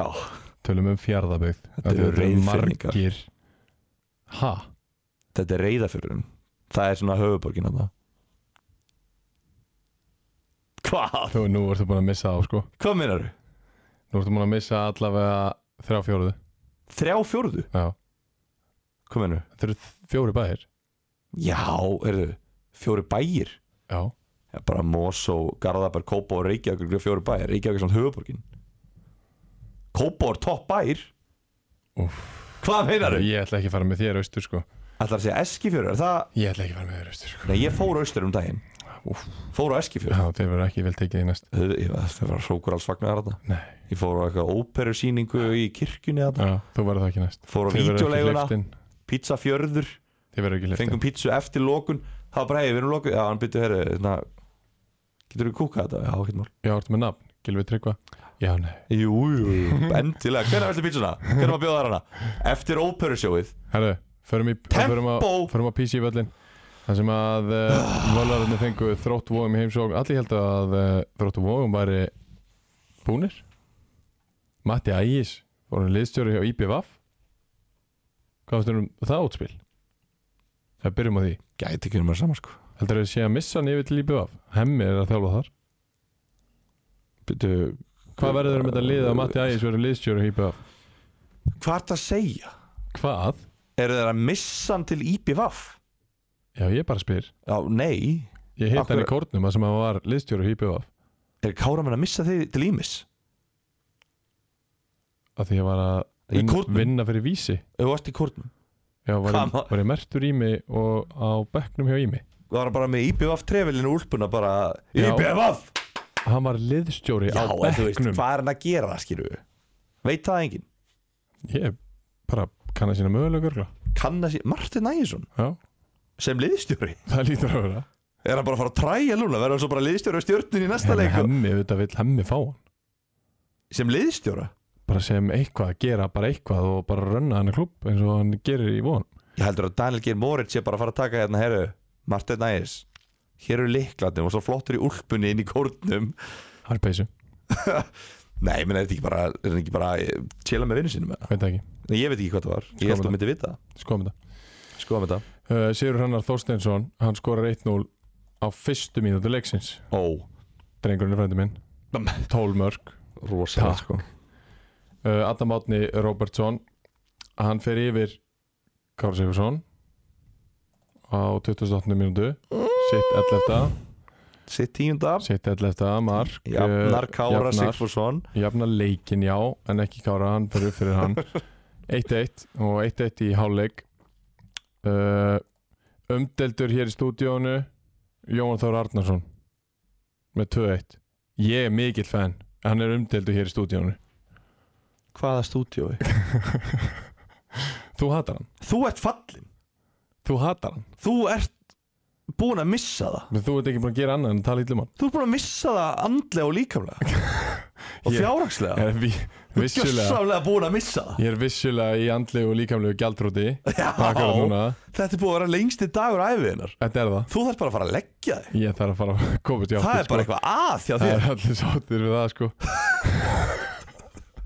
B: já,
A: Tölum um fjarðabögð
B: Þetta eru Reyðfirðingar.
A: margir Ha?
B: þetta er reyðafjörðin það er svona höfuborgin hérna hvað?
A: Þú, nú ertu búin að missa þá, sko
B: hvað minnar
A: Nú ertu búin að missa allavega þrjá fjóruðu
B: Þrjá fjórðu?
A: Já,
B: Hvað menur?
A: þetta eru fjóri bæðir
B: Já, heyrðu, fjóri bæir
A: Já,
B: ja, bara Mosó, Garðabær, Kópá og Reykjavík eru fjóri bæir, Reykjavík er svona höfuborgin Kópá er topp bæir
A: úff
B: Hvað meinar þau?
A: Ég ætla ekki að fara með þér austur sko
B: Ætlar að segja Eskifjörður, er það?
A: Ég ætla ekki að fara með þér austur sko
B: Nei, ég fór austur um daginn
A: Úff.
B: Fór á Eskifjörður
A: Já, þeir verður ekki vel tekið í næst
B: Það var hrókur alls fagnar þarna
A: Nei,
B: Ég fór á eitthvað óperusýningu í kirkjunni þarna
A: já, þú verður það ekki í næst
B: Fór á
A: Þeir verður ekki
B: vídeoleiguna.
A: liftin
B: Pizza fjörður,
A: Þeir verður ekki liftin
B: fengum pizzu eftir lokun Það var bara, hei, við erum lokun Já, hann byrjuði, herri, hérna Getur við kúkað þetta? Já, ekkert mál
A: Já, ertu með nafn Gilvi Tryggva Já, nei
B: Jú, jú, jú, endilega Hvernig viltu pítsuna? Hvernig maður bjóða þær hana? Eftir óperusjóið
A: Herru, förum, í,
B: Tempo!
A: förum, á, förum á PC völlin þar sem að uh, volararnir fengu þrótt vóðum í heimsókn Allir held að uh, þrótt vóðum væri búnir Matti Ægis voru liðstjóri hjá IPVAF Hvað finnst þér um það útspil? Það byrjum á því
B: Gæti ekki um að sama sko
A: Heldur þau sé að missa hann yfir til IPVAF? Hemmi er að þjálfa þar
B: Býtu,
A: Hvað verður þeir um þetta lið að Matti Ægis verður liðstjóri hjá IPVAF?
B: Hvað ertu að segja?
A: Hvað?
B: Eru þeir að missa hann til IPVAF?
A: Já, ég bara spyr
B: Já, nei
A: Ég hitt hann í
B: Akkur-
A: kórnum að sem hann var liðstjóri hjá IPVAF
B: Er Káramenn að missa þig til Ímis?
A: að því ég var að
B: Í
A: vin,
B: kórnum?
A: vinna fyrir vísi
B: Ef þú varst í kórnum
A: já, var,
B: Hvað
A: ég,
B: ma-
A: var ég mertur í mig og á bekknum hjá í mig
B: Það var bara með IPVAF trefilinu úlpuna bara
A: Já.
B: IPVAF!
A: hann var liðstjóri
B: Já,
A: á
B: en þú veist,
A: bekknum
B: hvað er hann að gera, skilju? Veit það enginn?
A: ég bara kann að sína mögulegur já,
B: Kann að sé, Martin Ægjesson
A: það
B: sem liðstjóri
A: lítur að vera
B: Er hann bara að fara að træja núna, verður hann svo bara liðstjóri á stjörnun í næsta
A: en
B: leik og-
A: hemmi, auðvitað vill hemmi fá hann
B: sem liðstjóra?
A: bara sem eitthvað, gera bara eitthvað og bara rönna hann að klubb eins og hann gerir í von
B: Ég heldur að Daniel Geir Moritz sé bara að fara að taka hérna, herru, Martin Ægjes Hér eru líklandum og svo flottur í úlpunni inn í kórnum
A: harpeysu,
B: Nei, menn er þetta ekki bara, er þetta ekki bara tjela með vinnu sínum eða?
A: veit það ekki,
B: Nei, ég veit ekki hvað það var, ég
A: Skoðum
B: held að
A: þetta.
B: myndi vita það.
A: skoðum þetta
B: Skoðum þetta
A: uh, Sigur Hannar Þorsteinsson, hann skorar 1-0 á fyrstu mínútu leiksins
B: Ó,
A: drengurinn er frændi minn, 12 mörg
B: rosalega sko
A: uh, Adam Átni Robertson hann fer yfir Karl Sigursson á 28. mínútu sitt 11.
B: Sitt tíunda
A: sitt 11. mark
B: Jafnar
A: eh,
B: Kára
A: jafnar,
B: Sigfússon
A: jafnar leikin já en ekki Kára, hann fer upp fyrir hann 1-1 og 1-1 í hálfleik uh, umdeldur hér í stúdíónu Jóhann Þór Arnarsson með 2-1 ég er mikill fan hann er umdeldur hér í stúdíónu
B: Hvaða stúdíói?
A: þú hatar hann,
B: Þú ert fallin,
A: þú hatar hann
B: þú ert búin að missa það
A: Men þú ert ekki búin að gera annað en að tala ítlum hann
B: Þú ert búin að missa það andlega og líkamlega Og
A: Ég-
B: fjárhagslega
A: Ég er vi-
B: Þú ert
A: vissulega,
B: gjössamlega búin að missa það
A: Ég er vissulega í andlegu og líkamlegu gjaldróti
B: Já,
A: Akkurat núna
B: þetta er búin að vera lengsti dagur æfiðinnar
A: Þetta er það
B: Þú þarf bara að fara að leggja þig
A: Ég þarf að fara að komast í
B: Það er bara
A: sko.
B: eitthvað að þjá
A: Það
B: þér
A: er allir sáttir við það sko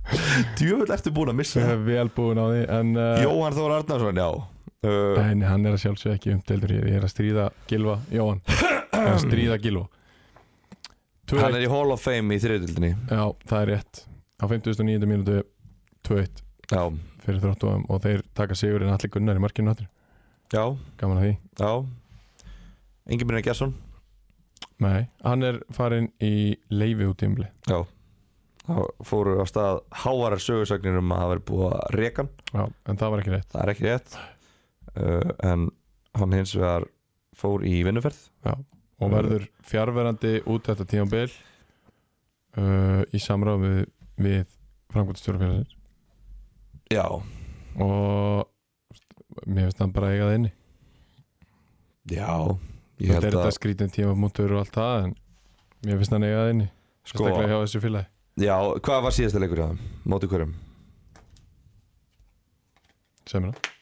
A: Eh.
B: Djöfull ertu búin að missa
A: Ég
B: það
A: er vel búin á því En uh,
B: Jóhann Þór Arnarsson, já uh,
A: nei, nei, hann er að sjálfsög ekki umdeldur hér Ég er að stríða Gilva Jóhann Ég er að stríða Gilva Tvö
B: Hann er í Hall of Fame í þriðutildinni
A: Já, það er rétt Á 59. mínútu 2-1
B: Já,
A: fyrir þróttuðum og þeir taka sigurinn allir Gunnar í markinu áttur
B: já,
A: Gaman að því
B: já Ingi Brynjar Gjesson
A: Nei, hann er farin í leifi út í umli
B: Já Þá fóru á stað hávarar sögursagnir um að það veri búið að reka hann
A: Já, en það var ekki rétt
B: Það er ekki rétt uh, En hann hins vegar fór í vinnuferð
A: og verður fjárverandi út þetta tímabil uh, í samráð við, við framkvæmstjórafélagsins
B: Já
A: og mér finnst hann bara eiga það inni
B: Já Ég
A: þetta er
B: held
A: þetta
B: að
A: skrítin tímamúntur og allt það en mér finnst hann eiga það inni
B: sko
A: staklega hjá þessu félagi
B: Já, hvað var síðasta leikur hjá þeim? Móti hverjum?
A: sem er það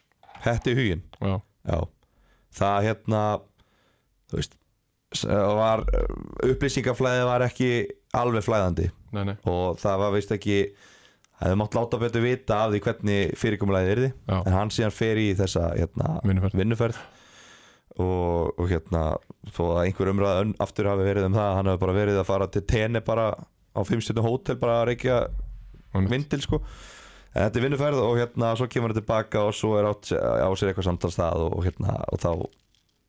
B: Hætti í huginn
A: Já,
B: Já Það hérna Þú veist s- var, upplýsingaflæðið var ekki alveg flæðandi
A: nei, nei,
B: og það var veist ekki það hefði mátt láta betur vita af því hvernig fyrirkomulæðið yrði
A: já,
B: en hann síðan fer í þessa hérna,
A: vinnuferð
B: vinnuferð og, og hérna þó að einhver umræða önn, aftur hafi verið um það hann hefur bara verið að fara til Tene bara á 5. hótel bara að reykja
A: Einmitt.
B: vindil sko en þetta er vinnuferð og hérna svo kemur hann tilbaka og svo er átt, á sér eitthvað samtalstað og, hérna, og þá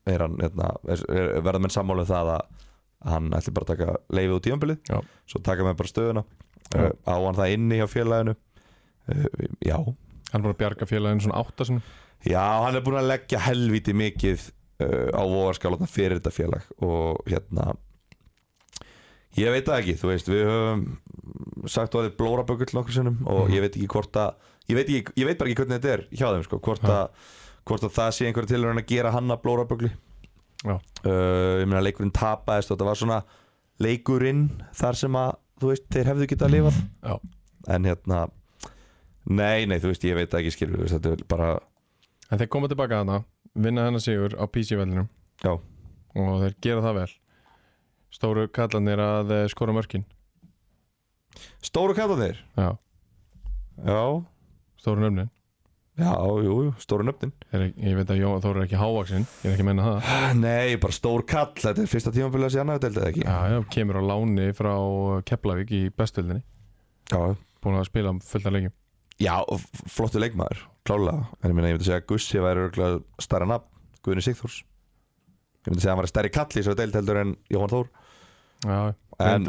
B: er hann hérna, er, er, verða menn sammála um það að hann ætli bara að taka leifi út tímanbilið
A: Já.
B: svo taka menn bara stöðuna
A: Já.
B: uh, á hann það inni hjá félaginu uh, já,
A: hann var að bjarga félaginu svona áttasinum
B: Já, hann er búin að leggja helviti mikið uh, á vogarskálarna fyrir þetta félag og hérna ég veit það ekki, þú veist við höfum sagt að það er blórabökull nokkur sinnum og ég veit ekki hvort að ég veit, ekki, ég veit bara ekki hvernig þetta er hjá þeim sko, hvort,
A: Ja.
B: að, hvort að það sé einhverja tilhörun að gera hann að blórabögli
A: Já.
B: uh, ég meina leikurinn tapaðist og þetta var svona leikurinn þar sem að þú veist, þeir hefðu getað lifað
A: Já.
B: en hérna nei, nei, þú veist, ég veit það ekki skilur veist, þetta er bara,
A: En þeir koma tilbaka þarna, vinna hennar sigur á PC-vellinum
B: Já.
A: Og þeir gera það vel Stóru kallanir að eh, skora mörkin
B: stóru kallanir
A: Já,
B: já,
A: stóru nöfnin
B: já, jú, jú, stóru nöfnin
A: er, Ég veit að Jóa Þór er ekki hávaksinn Ég er ekki að menna það
B: nei, bara stór kall, þetta er fyrsta tímabilið að sé annaðu deildið ekki
A: Já, já, kemur á láni frá Keflavík í bestöldinni
B: já,
A: Búin að spila um fullt af leikjum
B: Já, og f- flottur leikmaður, klálega En ég meina, ég myndi segja að Gussi væri örgulega starra nafn Guðni Sigþórs Ég myndi segja að hann væri stærri kall í svo deilt heldur en Jóhann Þór
A: Já,
B: En-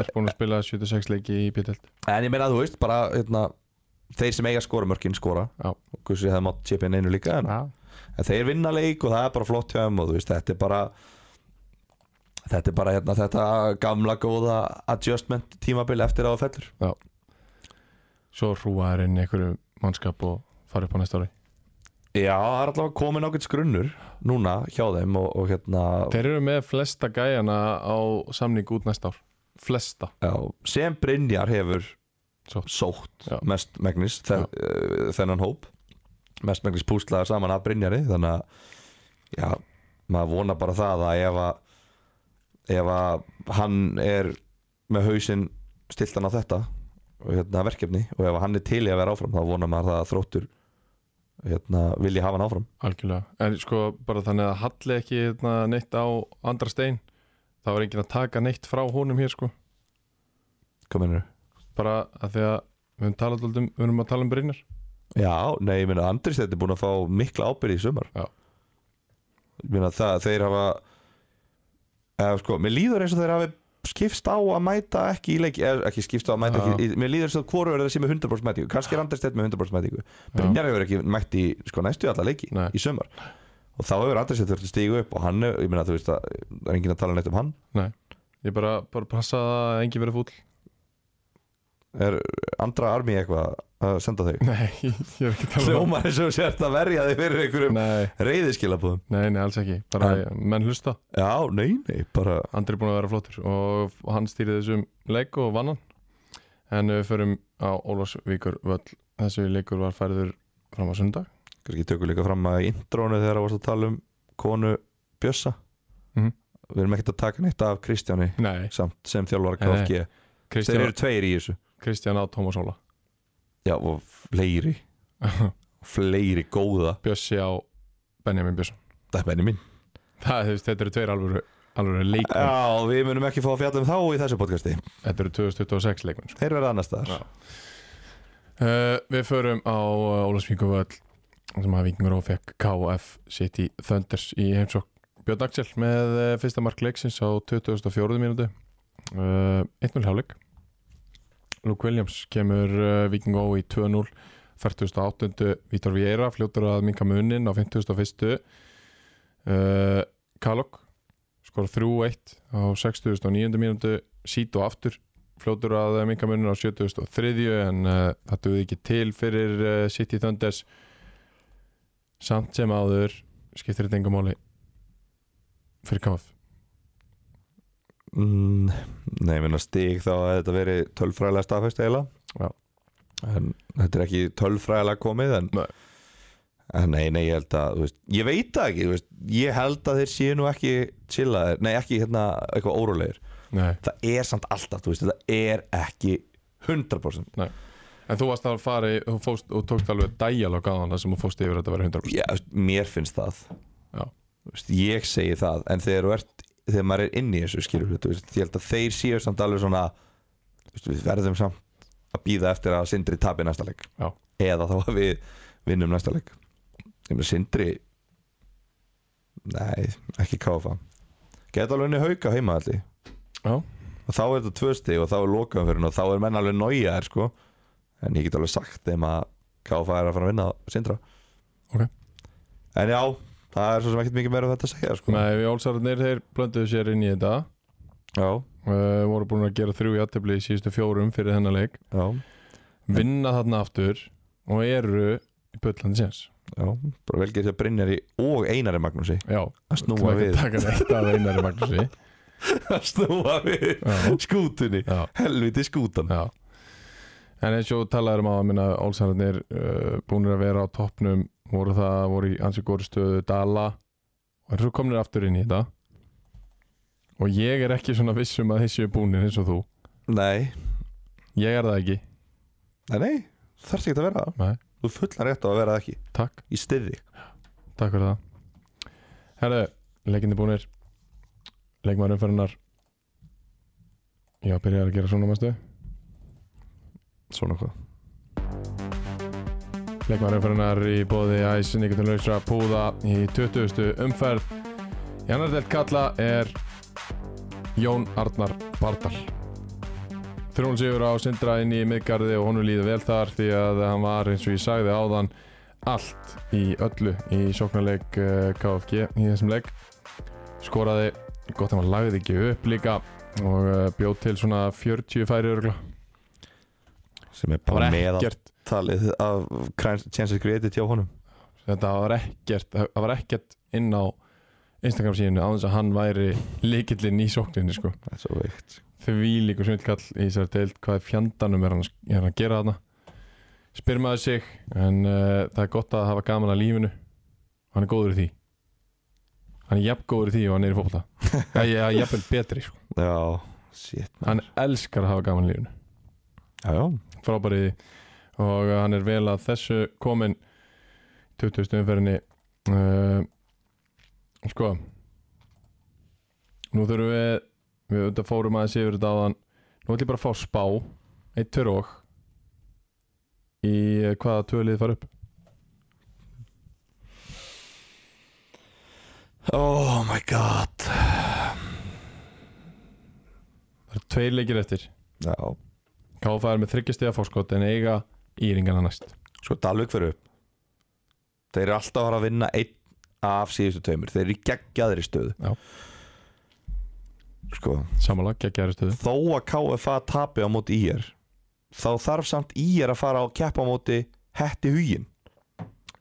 A: en, búin að spila 76 leiki í bjöldeld
B: En ég meina, þú veist, bara hérna, þeir sem eiga skora mörkin skora
A: Já.
B: Og Gussi hefði mátt chipin einu líka en,
A: Já,
B: en þeir vinna leik og það er bara flott hjá þeim Og þú veist, þetta er bara Þetta er bara hérna, þetta gamla góða adjustment tímabil eftir að það fellur
A: svo hrúa er inn í einhverju mannskap og fara upp á næsta ári
B: Já, það er allavega komin ágætt grunnur núna hjá þeim og, og hérna
A: Þeir eru með flesta gæjana á samning út næsta ár Flesta
B: Já, sem Brynjar hefur
A: Sótt.
B: sótt,
A: Já.
B: mest megnis þe uh, þennan hóp mest megnis púslaða saman að Brynjari þannig að já, maður vonar bara það að ef að ef að hann er með hausinn stiltan á þetta og hérna, verkefni og ef hann er til í að vera áfram þá vonar maður það að þróttur hérna, vilji hafa hann áfram
A: Algjörlega, en sko bara þannig að halli ekki hérna, neitt á andra stein þá er enginn að taka neitt frá honum hér sko
B: Kominur.
A: bara að því að við höfum talað dálítið um, við höfum að tala um Brynjar
B: Já, nei, ég meina Andris þetta er búin að fá mikla ábyrði í sumar
A: Já.
B: Ég meina það, þeir hafa eða sko, mér líður eins og þeir hafi skipst á að mæta ekki í leiki eða ekki skipst á að mæta
A: Já.
B: ekki, í- mér líður eins og hvoru er þessi með 100% mætingu, kannski er Andris þetta með 100% mætingu Brynjar hefur ekki mætt í sko næstu alla leiki
A: Nei.
B: í sumar og þá hefur Andris þetta þurft að stígu upp og hann, hefur- ég meina þú veist að það er enginn að tala neitt um hann
A: ég bara, bara passa að enginn verið fúll
B: er andra armi eitthvað að senda þau
A: Nei, ég er ekki að tala um
B: Hljómar eins og sért að verja þig fyrir einhverjum
A: Nei,
B: reyðiskilabúðum
A: nei, nei, alls ekki bara menn hlusta,
B: Já, nei, nei, bara
A: Andri er búin að vera flottur og hann stýrið þessum leik og vann hann en við förum á Ólafsvíkur völl þessi leikur var færður fram á sundag
B: kannski tökum líka fram að í intrónu þegar það varst að tala um konu Bjössa
A: Mhm.
B: Við erum ekkert að taka neitt af Kristjáni
A: Nei,
B: samt sem þjálfara
A: Nei,
B: KFG Þeir
A: Kristján,
B: eru tveir í þessu
A: Kristján á Tómas Óla
B: Já, og fleiri fleiri góða
A: Bjössi á Benjamin Bjösson
B: Það er benni mín
A: Það, þú veist, þetta eru tveir alvöru, alvöru leikmenn
B: Já, við munum ekki fá að fjalla um þá í þessu podcasti
A: Þetta eru 2026 leikmenn sko.
B: Þeir verða annars staðar
A: Já. uh, Við förum á uh, Ólafsvíku völl sem að Vikingur og fekk KF City Thunders í heimsók Björn Axel með uh, fyrsta mark leiksins á 2004. mínúti uh, 1-0 hálfleik Luke Williams kemur uh, Viking Ó í 2-0 48. Vítor Vieira fljótur að minka munin á 51. Uh, Kalok skor 3-1 á 69. mínútu Sito aftur fljótur að minka munin á 73. en uh, það duði ekki til fyrir uh, City Thunders samt sem áður skiptir þetta engum máli fyrir KF
B: mm, Nei, ég minna stig þá að þetta veri tölfræðilega staðfæst eiginlega
A: Já.
B: En þetta er ekki tölfræðilega komið en
A: Nei.
B: En nei, nei, ég held að, þú veist, ég veit það ekki, þú veist, ég held að þeir séu nú ekki chillaðir, nei ekki hérna eitthvað órólegir.
A: Nei.
B: Það er samt alltaf, þú veist, þetta er ekki 100%.
A: en þú varst að fara í- þú fóst, og tókst alveg dæjalog á hann sem þú fóst yfir að þetta verið 100%
B: Já, þú veist, mér finnst það.
A: Já.
B: Þú veist, ég segi það, en þegar þú ert, þegar maður er inni í þessu skilur, þú veist, ég held að þeir séu samt alveg svona, þú veist, við verðum samt að býða eftir að Sindri tapi næsta leik.
A: Já.
B: Eða þá að við vinnum næsta leik. Ég með Sindri, nei, ekki káfa. Geta alveg henni hauka heima allir.
A: Já.
B: og þá er þetta tvö stig og þá er lokaumferðin og þá er menn alveg nájaðir sko en ég get alveg sagt þeim að KFA er að fara að vinna sindra
A: Ok.
B: en já, það er svo sem ekkert mikið meira um þetta að segja sko
A: Nei, við Ólsararnir þeir blönduðu sér inn í þetta
B: já,
A: uh, voru búin að gera þrjú játtöfli í síðustu fjórum fyrir þennan leik
B: já,
A: vinna þarna aftur og eru í Böllandi séns
B: já bara velgeir því að Brynjari og Einari Magnúsi
A: Já,
B: að
A: þú
B: snúa
A: ekki
B: við
A: taka neitt af einari Magnúsi
B: að snúa við
A: Já.
B: skútunni
A: Já.
B: helviti skútan
A: Já. En eins og talaður um að minna Olsararnir uh, búinir að vera á toppnum voru það, voru í ansi góri stöðu Dala og eins og komnir aftur inn í þetta og ég er ekki svona viss um að þeir séu búinir eins og þú
B: nei,
A: ég er það ekki,
B: nei, nei þú þarfst ekki að vera það
A: Nei.
B: þú er fullan rétt á að vera það ekki
A: takk
B: í stiði
A: takk fyrir það Herðu, leikinni búinir leikmaður umferðinar Já, byrjar að gera svona mestu
B: svona hvað
A: Leikmarumferðinar í bóði Æs, Nikotin Lausra, Púða í 20. umferð. Í annar delt kalla er Jón Arnar Bardal. Þrjón sigur á Sindra inn í miðgarði og honum líður vel þar því að hann var eins og ég sagði áðan allt í öllu í sóknarleik eh, KFG í þessum leik. Skoraði, gott að hann lagði ekki upp líka og eh, bjóð til svona 40 færi örgla.
B: sem er bara meðaltalið af Crime- chances created hjá honum
A: þetta var ekkert það var ekkert inn á Instagram síðinu á þess að hann væri líkillinn í sókninni sko
B: það er svo veikt
A: því líkur svindkall í þessari deild hvað fjandanum er hann, er hann að gera þarna spyr maður sig en uh, það er gott að hafa gaman að lífinu hann er góður í því hann er jafn góður í því og hann er í fótbolta það er jafnvel betri sko
B: já, shit
A: hann elskar að hafa gaman að lífinu
B: já, já,
A: frábæri í því. og uh, hann er vel að þessu komin 20. umferðinni uh, sko nú þurfum við við auðvitað fórum aðeins yfir þetta áðan nú ætlum ég bara að fá spá eitt tör og í eh, hvaða tölið fara upp
B: oh my god
A: það eru tveir leikir eftir
B: já,
A: KFA er með þryggjastega fórskot en eiga íringana næst
B: Sko Dalvik fyrir upp Þeir eru alltaf að fara að vinna einn af síðustu tveimur Þeir eru í geggjaðri stöðu
A: Já.
B: Sko
A: samanlag, geggjæri stöðu
B: Þó að KFA tapi á móti IR Þá þarf samt IR að fara á keppa á móti Hetti hugin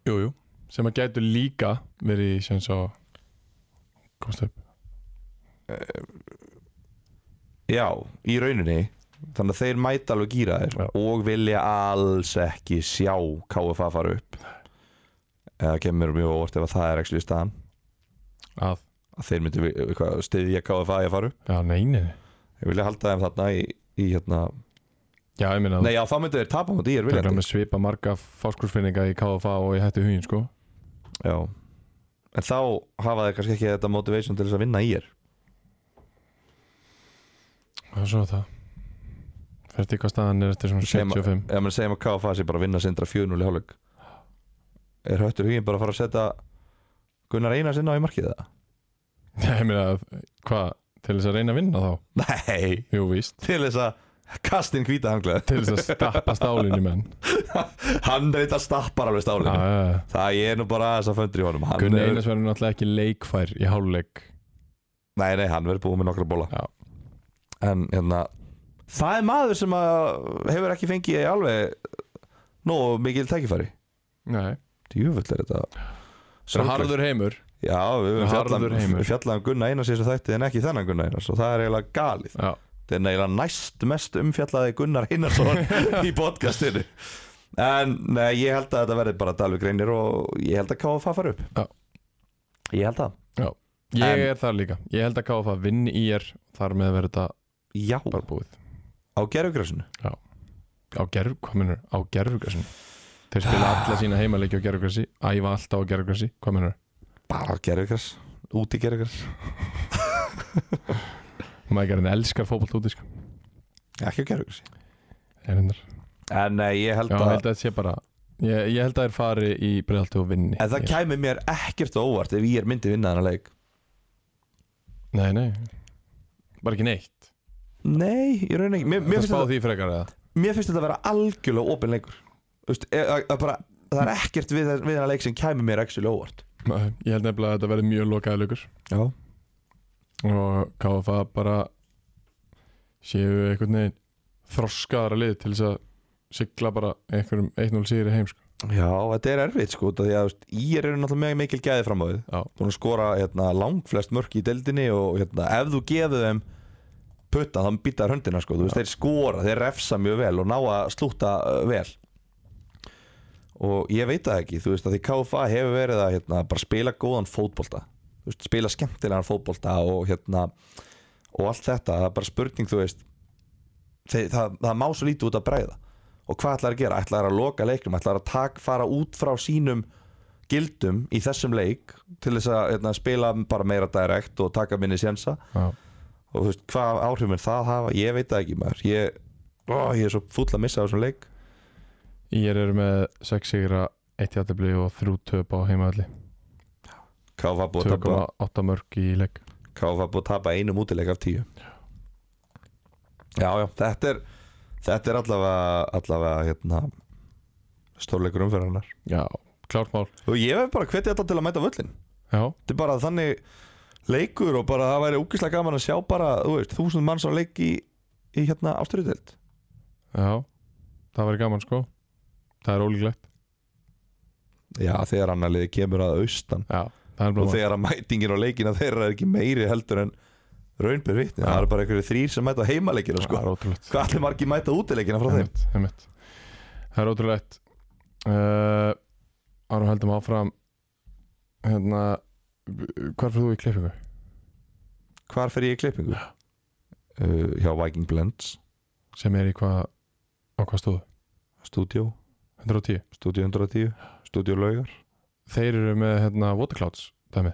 A: jú, jú. sem að gætu líka verið í sem svo komst upp
B: Já, í rauninni Þannig að þeir mæta alveg gýra þér
A: Já.
B: Og vilja alls ekki sjá KFA fara upp Eða kemur mér mjög á óvart ef að það er ekki í staðan
A: að,
B: Að þeir myndu vi- hvað, styðja KFA í að fara upp
A: já, neini
B: Ég vilja halda þeim þarna í, í hérna
A: já, ég minna
B: Nei, já, þá myndu þeir tapa mútið í er
A: Það er
B: viljandi
A: með svipa marga fáskursfinninga í KFA og í hættu hugin sko
B: Já En þá hafa þeir kannski ekki þetta motivation til þess að vinna í er
A: Það er svo það Ferði hvað staðan er eftir svona
B: Segjum-
A: 75
B: Ef maður segjum að KFA sé bara að vinna sindra 4-0 í hálfleik Er höttur huginn bara að fara að setja Gunnar Einars inn á í markið það?
A: Nei, ég meina, hvað, til þess að reyna að vinna þá?
B: Nei,
A: Jú, víst
B: til þess að kastin hvíta hanglaði
A: Til þess að stappa stálinu menn
B: Hann reynda stappar alveg stálinu
A: Já, já, já.
B: Það er nú bara þess að föndur í honum hann
A: Gunni
B: er-
A: Einars verður náttúrulega ekki leikfær í háluleik
B: Nei, nei, hann verður búið með nokkra bóla
A: Já.
B: En hérna Það er maður sem að hefur ekki fengið alveg nóg mikil tækifæri
A: Nei
B: Djúvöld er þetta
A: Það er harður heimur
B: Já, við höfum fjallað
A: Harður heimur.
B: við fjallaðum Gunnar Einars í þessu þætti en ekki þennan Gunnar Einars og það er eiginlega galið
A: Já,
B: Þetta er eiginlega næst mest umfjallaði Gunnar Einarsson í podcastinu En nei, ég held að þetta verði bara Dalvi Greinir og ég held að KFA fara upp
A: Já.
B: Ég held að
A: ég
B: En-
A: er þar líka Ég held að KFA vinni í er Þar með verður þetta
B: Já,
A: bara búið
B: á gerfugrasinu
A: Á gerf, hvað minnur, á gerfugrasinu Þeir spila alla sína heimaleiki á gerfugrasi Æfa alltaf á gerfugrasi, hvað minnur
B: Bara á gerfugras, út í gerfugras
A: Mækarinn elskar fótbolt úti sko
B: Ekki á gerfugrasi
A: Erindar.
B: En nei, ég
A: Já,
B: held
A: ég
B: að
A: held að þetta sé bara Ég, ég held að þær fari í breyðaltu og vinni
B: En það
A: ég,
B: kæmi mér ekkert á óvart ef ég er myndi vinna þennan leik
A: Nei, nei Bara ekki neitt
B: Nei, ég raun ekki Mér,
A: Það
B: mér finnst
A: spáði
B: þetta
A: því frekar eða
B: mér finnst þetta að vera algjörlega opinn leikur Þú veist, e- að- að bara, það er ekkert við, við þennan leik sem kæmi mér ekki óvart
A: Nei, Ég held nefnilega að þetta verði mjög lokaði lögur
B: já.
A: Og KFA bara Séu einhvern veginn Þroskaðara lið til þess að Sigla bara einhverjum 1-0 sigri heim sko
B: Já, þetta er erfitt sko út af því að þú veist, Ír eru náttúrulega mjög mikil gæði fram á því
A: Já.
B: búin að skora hérna, langflest mörk í deildinni og hérna, ef þú gefur þeim putta þá býta þær höndina sko, þú veist, þeir skora, þeir refsa mjög vel og ná að slúta uh, vel og ég veit það ekki þú veist að því KFA hefur verið að hérna, bara spila góðan fótbolta þú veist, spila skemmtilegan fótbolta og hérna og allt þetta, það er bara spurning þú veist þeir, það, það má svo lítið út að bræða og hvað ætlar að gera, ætlar að loka leiknum ætlar að tak, fara út frá sínum gildum í þessum leik til þess að hérna, spila bara meira direkt og taka minni sjensa
A: Já.
B: og þú veist, hvað áhrif mun það hafa ég veit það ekki maður ég, ó, ég er svo fúll að missa á þessum leik
A: Ír eru með 6 sigra, 1 játtabli og 3 töp á heimavalli
B: KFA búið að tapa
A: 2,8 mörg í leik
B: KFA búið að tapa einum útileik af tíu já, já, þetta er þetta er allavega, allavega hérna, stórleikur umferðarnar
A: Já, klárt mál
B: og ég hef bara hvetið þetta til að mæta völlin
A: Já,
B: þetta er bara þannig leikur og bara það væri úkislega gaman að sjá bara, þú veist, þúsund manns á leik í, í hérna ástyrjutild
A: já, það væri gaman sko Það er ólíklegt
B: já, þegar annar liði kemur að austan
A: Já, það er
B: og
A: blóma
B: þegar að mætingin á leikina þeirra er ekki meiri heldur en raunbyr vitni,
A: Já.
B: það er bara einhverju þrýr sem mæta á heimaleikina
A: Það
B: sko,
A: er ótrúlegt
B: hvað allir margir mæta útileikina frá þeim
A: Einmitt, einmitt. Það er ótrúlegt uh, Árum heldum áfram Hérna Hvar fyrir þú í klippingu?
B: hvar fer ég í klippingu? Uh, hjá Viking Blends
A: Sem er í hvað Á hvað stóðu?
B: stúdíó,
A: 110
B: stúdíó 110 stúdíó laugar,
A: Þeir eru með hérna Waterclouds Dæmi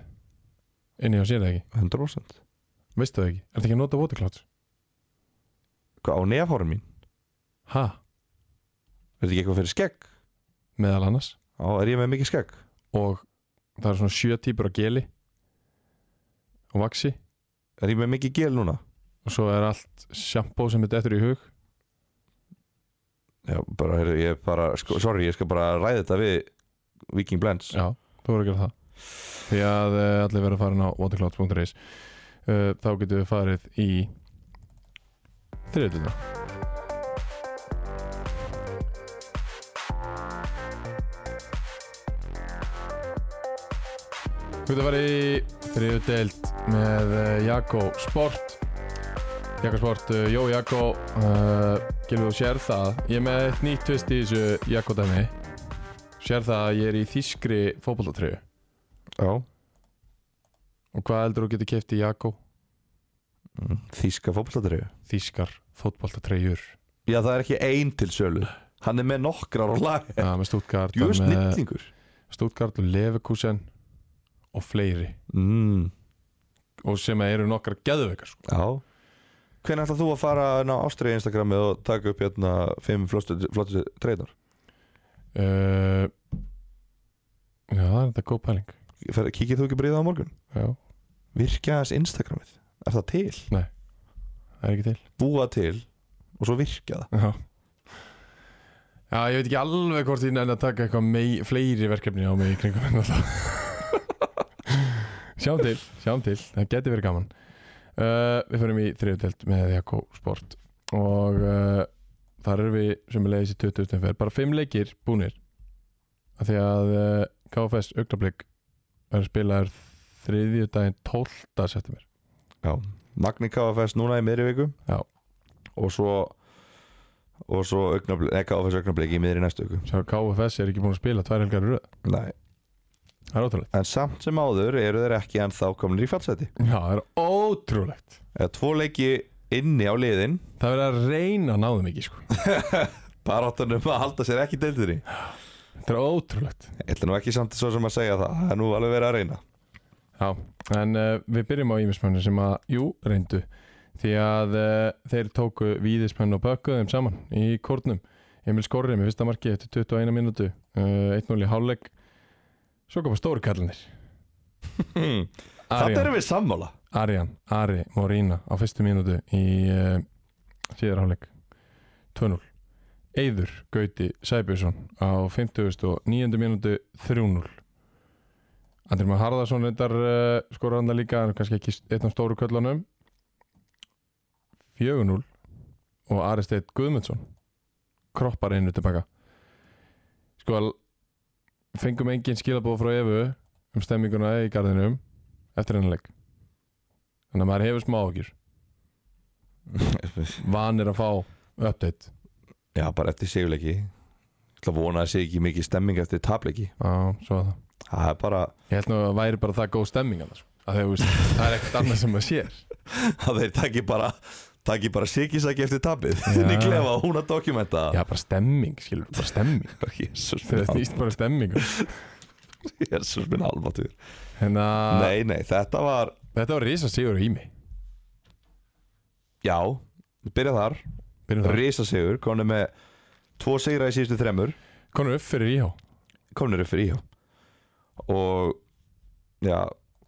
A: Inni á sér það ekki
B: 100%
A: Veistu það ekki? Er þetta ekki að nota Waterclouds?
B: hvað á nefhárum mín,
A: Ha?
B: er þetta ekki eitthvað fyrir skegg?
A: Meðal annars
B: á, er ég með mikið skegg?
A: Og það eru svona sjö típur af geli Og vaxi
B: er ég með mikið gel núna?
A: Og svo er allt sjampó sem er dettur í hug
B: Já, bara, heyrðu, ég bara, sko, sorry, ég skal bara ræða þetta við Viking Blends
A: Já, þú voru að gera það Því að eh, allir verða farin á waterclouds.is Eh, Þá getum við farið í þriðutina Við getum farið í þriðu deild með eh, Jakko Sport Jakko Sport, eh, Jó Jakko uh, Gilvið og sér það Ég er með eitt nýtt tvist í þessu Jakko dæmi sér það að ég er í þýskri fótboltatreyju
B: Já.
A: og hvað heldur þú getur keft í Jakko?
B: Mm, Þíska fótboltatreyju
A: Þýskar fótboltatreyjur
B: Já, það er ekki ein til sölu Hann er með nokkrar á lag
A: ja, með Stuttgart
B: Jú,
A: hann með
B: snillingur
A: Stuttgart og Leverkusen og fleiri
B: mm,
A: og sem eru nokkar geðveikar sko.
B: Já Hvernig ætlar þú að fara inn á Ástriði Instagrami og taka upp hérna fimm flottu flottu treyðar?
A: uh, Já, það er þetta góð pæling
B: Kikið þú ekki bríða á morgun?
A: Já,
B: Virkja þess Instagramið Er það til?
A: það er ekki til
B: Búa til og svo virkja það
A: Já Já, ég veit ekki alveg hvort ég nefn að taka eitthvað mei, fleiri verkefni á mig í kringum en alltaf Sjáum til, sjáum til, það geti verið gaman uh, Við förum í þriðutelt með Jakko Sport og uh, þar erum við sem er leiðis í 20. fer bara fimm leikir búnir af því að uh, KFS augnablík verður spilaður þriðjudaginn 12. september
B: Magni KFS núna í miðri viku
A: Já.
B: Og svo Og svo augnabli, nei, KFS augnablik í miðri næstu viku
A: Sjá, KFS er ekki búin að spila tvær helgar í röð
B: Nei
A: Það er ótrúlegt
B: En samt sem áður eru þeir ekki en þá kominir í fallseti
A: Já, það er ótrúlegt
B: eða tvo leiki inni á liðin
A: Það verður að reyna að ná þeim ekki sko.
B: baráttanum um að halda sér ekki deildur í Ég
A: Þetta er ótrúlegt
B: ætla nú ekki samt svo sem að segja það það er nú alveg verið að reyna
A: Já, en uh, við byrjum á ímismönnu sem að, jú, reyndu því að uh, þeir tóku víðismenn og bökkuðu þeim saman í kórnum Emil Skorri með fyrsta marki eftir 21 minútu uh, 1-0 í hálfleik Svo koma stóru kallinir
B: Þetta
A: Arian,
B: Hmm. erum við sammála
A: Arian, Ari Morína á fyrstu mínútu í uh, síðar hálfleik 2-0 Eyður Gauti Sæbjörnsson á 59. mínútu 3-0 Andri Már Harðarsson reyndar uh, skorar hann það líka en kannski ekki einn af stóru köllunum 4-0 og Ari Steit Guðmundsson kroppar einu tilbaka sko fengum engin skilabóð frá Evu um stemminguna í garðinum eftir hennar leik þannig að maður hefur smá okkur vanir að fá update
B: Já, bara eftir sigurleiki Ég ætla að vona að sé ekki mikið stemming eftir tapleiki
A: á, svo að það
B: Það er bara
A: ég held nú að það væri bara það góð stemming annars að þegar, veist, það er ekkert annað sem maður sér
B: að þeir taki bara taki bara sikisæki eftir tapið
A: Já.
B: inn í klefa og hún að dokumenta
A: já, bara stemming, skilur, bara stemming
B: Jésus
A: þegar það snýst bara stemming
B: Jésus minn almatur
A: en að
B: Nei, nei, þetta var
A: þetta var risa sigur í mig
B: Já, byrja þar
A: Byrjum það.
B: Risa sigur, konum með tvo sigra í síðustu þremur
A: konur upp fyrir íhá
B: komnir upp fyrir íhjá og já,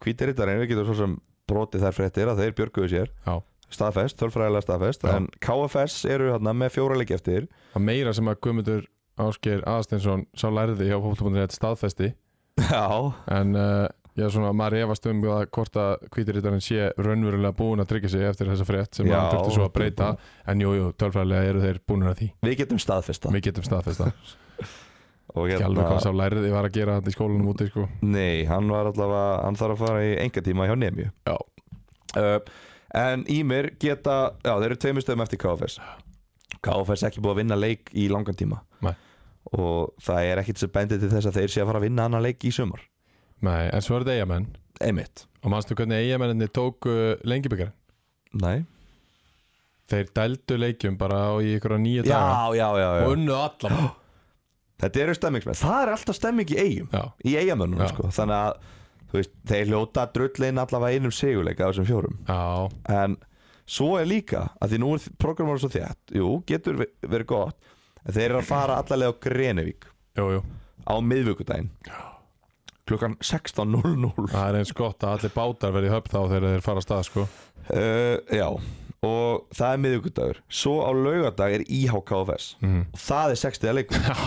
B: hvítir þetta reynir getur svo sem brotið þær fréttir að þeir björguðu sér
A: Já.
B: staðfest, tölfræðilega staðfest
A: Já.
B: en KFS eru hérna með fjóra leik eftir
A: að meira sem að Guðmundur Ásgeir Aðstensson sá lærði hjá fólkbúndinett staðfesti
B: já,
A: en uh, já, svona, maður efast um það hvort að kvítirítarinn sé raunverulega búin að tryggja sig eftir þessa frétt sem
B: Já,
A: hann þurfti svo að breyta en jú, jú, tölfræðilega eru þeir búin að því
B: við getum staðfesta
A: við getum staðfesta,
B: Hérna. og hérna,
A: ekki alveg hvað sá lærði var að gera þetta í skólanum úti sko.
B: nei, hann var allavega, hann þarf að fara í enga tíma hjá Nemju
A: Já.
B: uh, en Ímir geta já, þeir eru tveimur stöðum eftir KFS KFS ekki búið að vinna leik í langan tíma
A: Nei.
B: og það er ekkit sem bendið til þess að þeir sé að fara að vinna annan leik í sumar
A: Nei, en svo er þetta eigamenn
B: einmitt,
A: og mannstu hvernig eigamenninni tóku lengjubikar
B: nei
A: þeir dældu leikjum bara á í ykkur nýja daga
B: já, já, já,
A: og unnu allan
B: Þetta eru stemmingsmenn, það er alltaf stemming í eigum
A: já,
B: Í eigamönnum,
A: Já.
B: sko Þannig að, þú veist, þeir hljóta drullin allavega einum seguleika á þessum fjórum
A: já,
B: En svo er líka, að því nú er programmaður svo þétt Jú, getur ve- verið gott En þeir eru að fara allalega á Grenivík
A: jú, jú
B: Á miðvikudaginn Klukkan 16.00
A: Það er eins gott að allir bátar verði í höfn þá þegar þeir fara að stað sko
B: uh, Já, og það er miðvikudagur Svo á laugardag er IHKFS
A: mm.
B: Og það er 60 leikur
A: Já,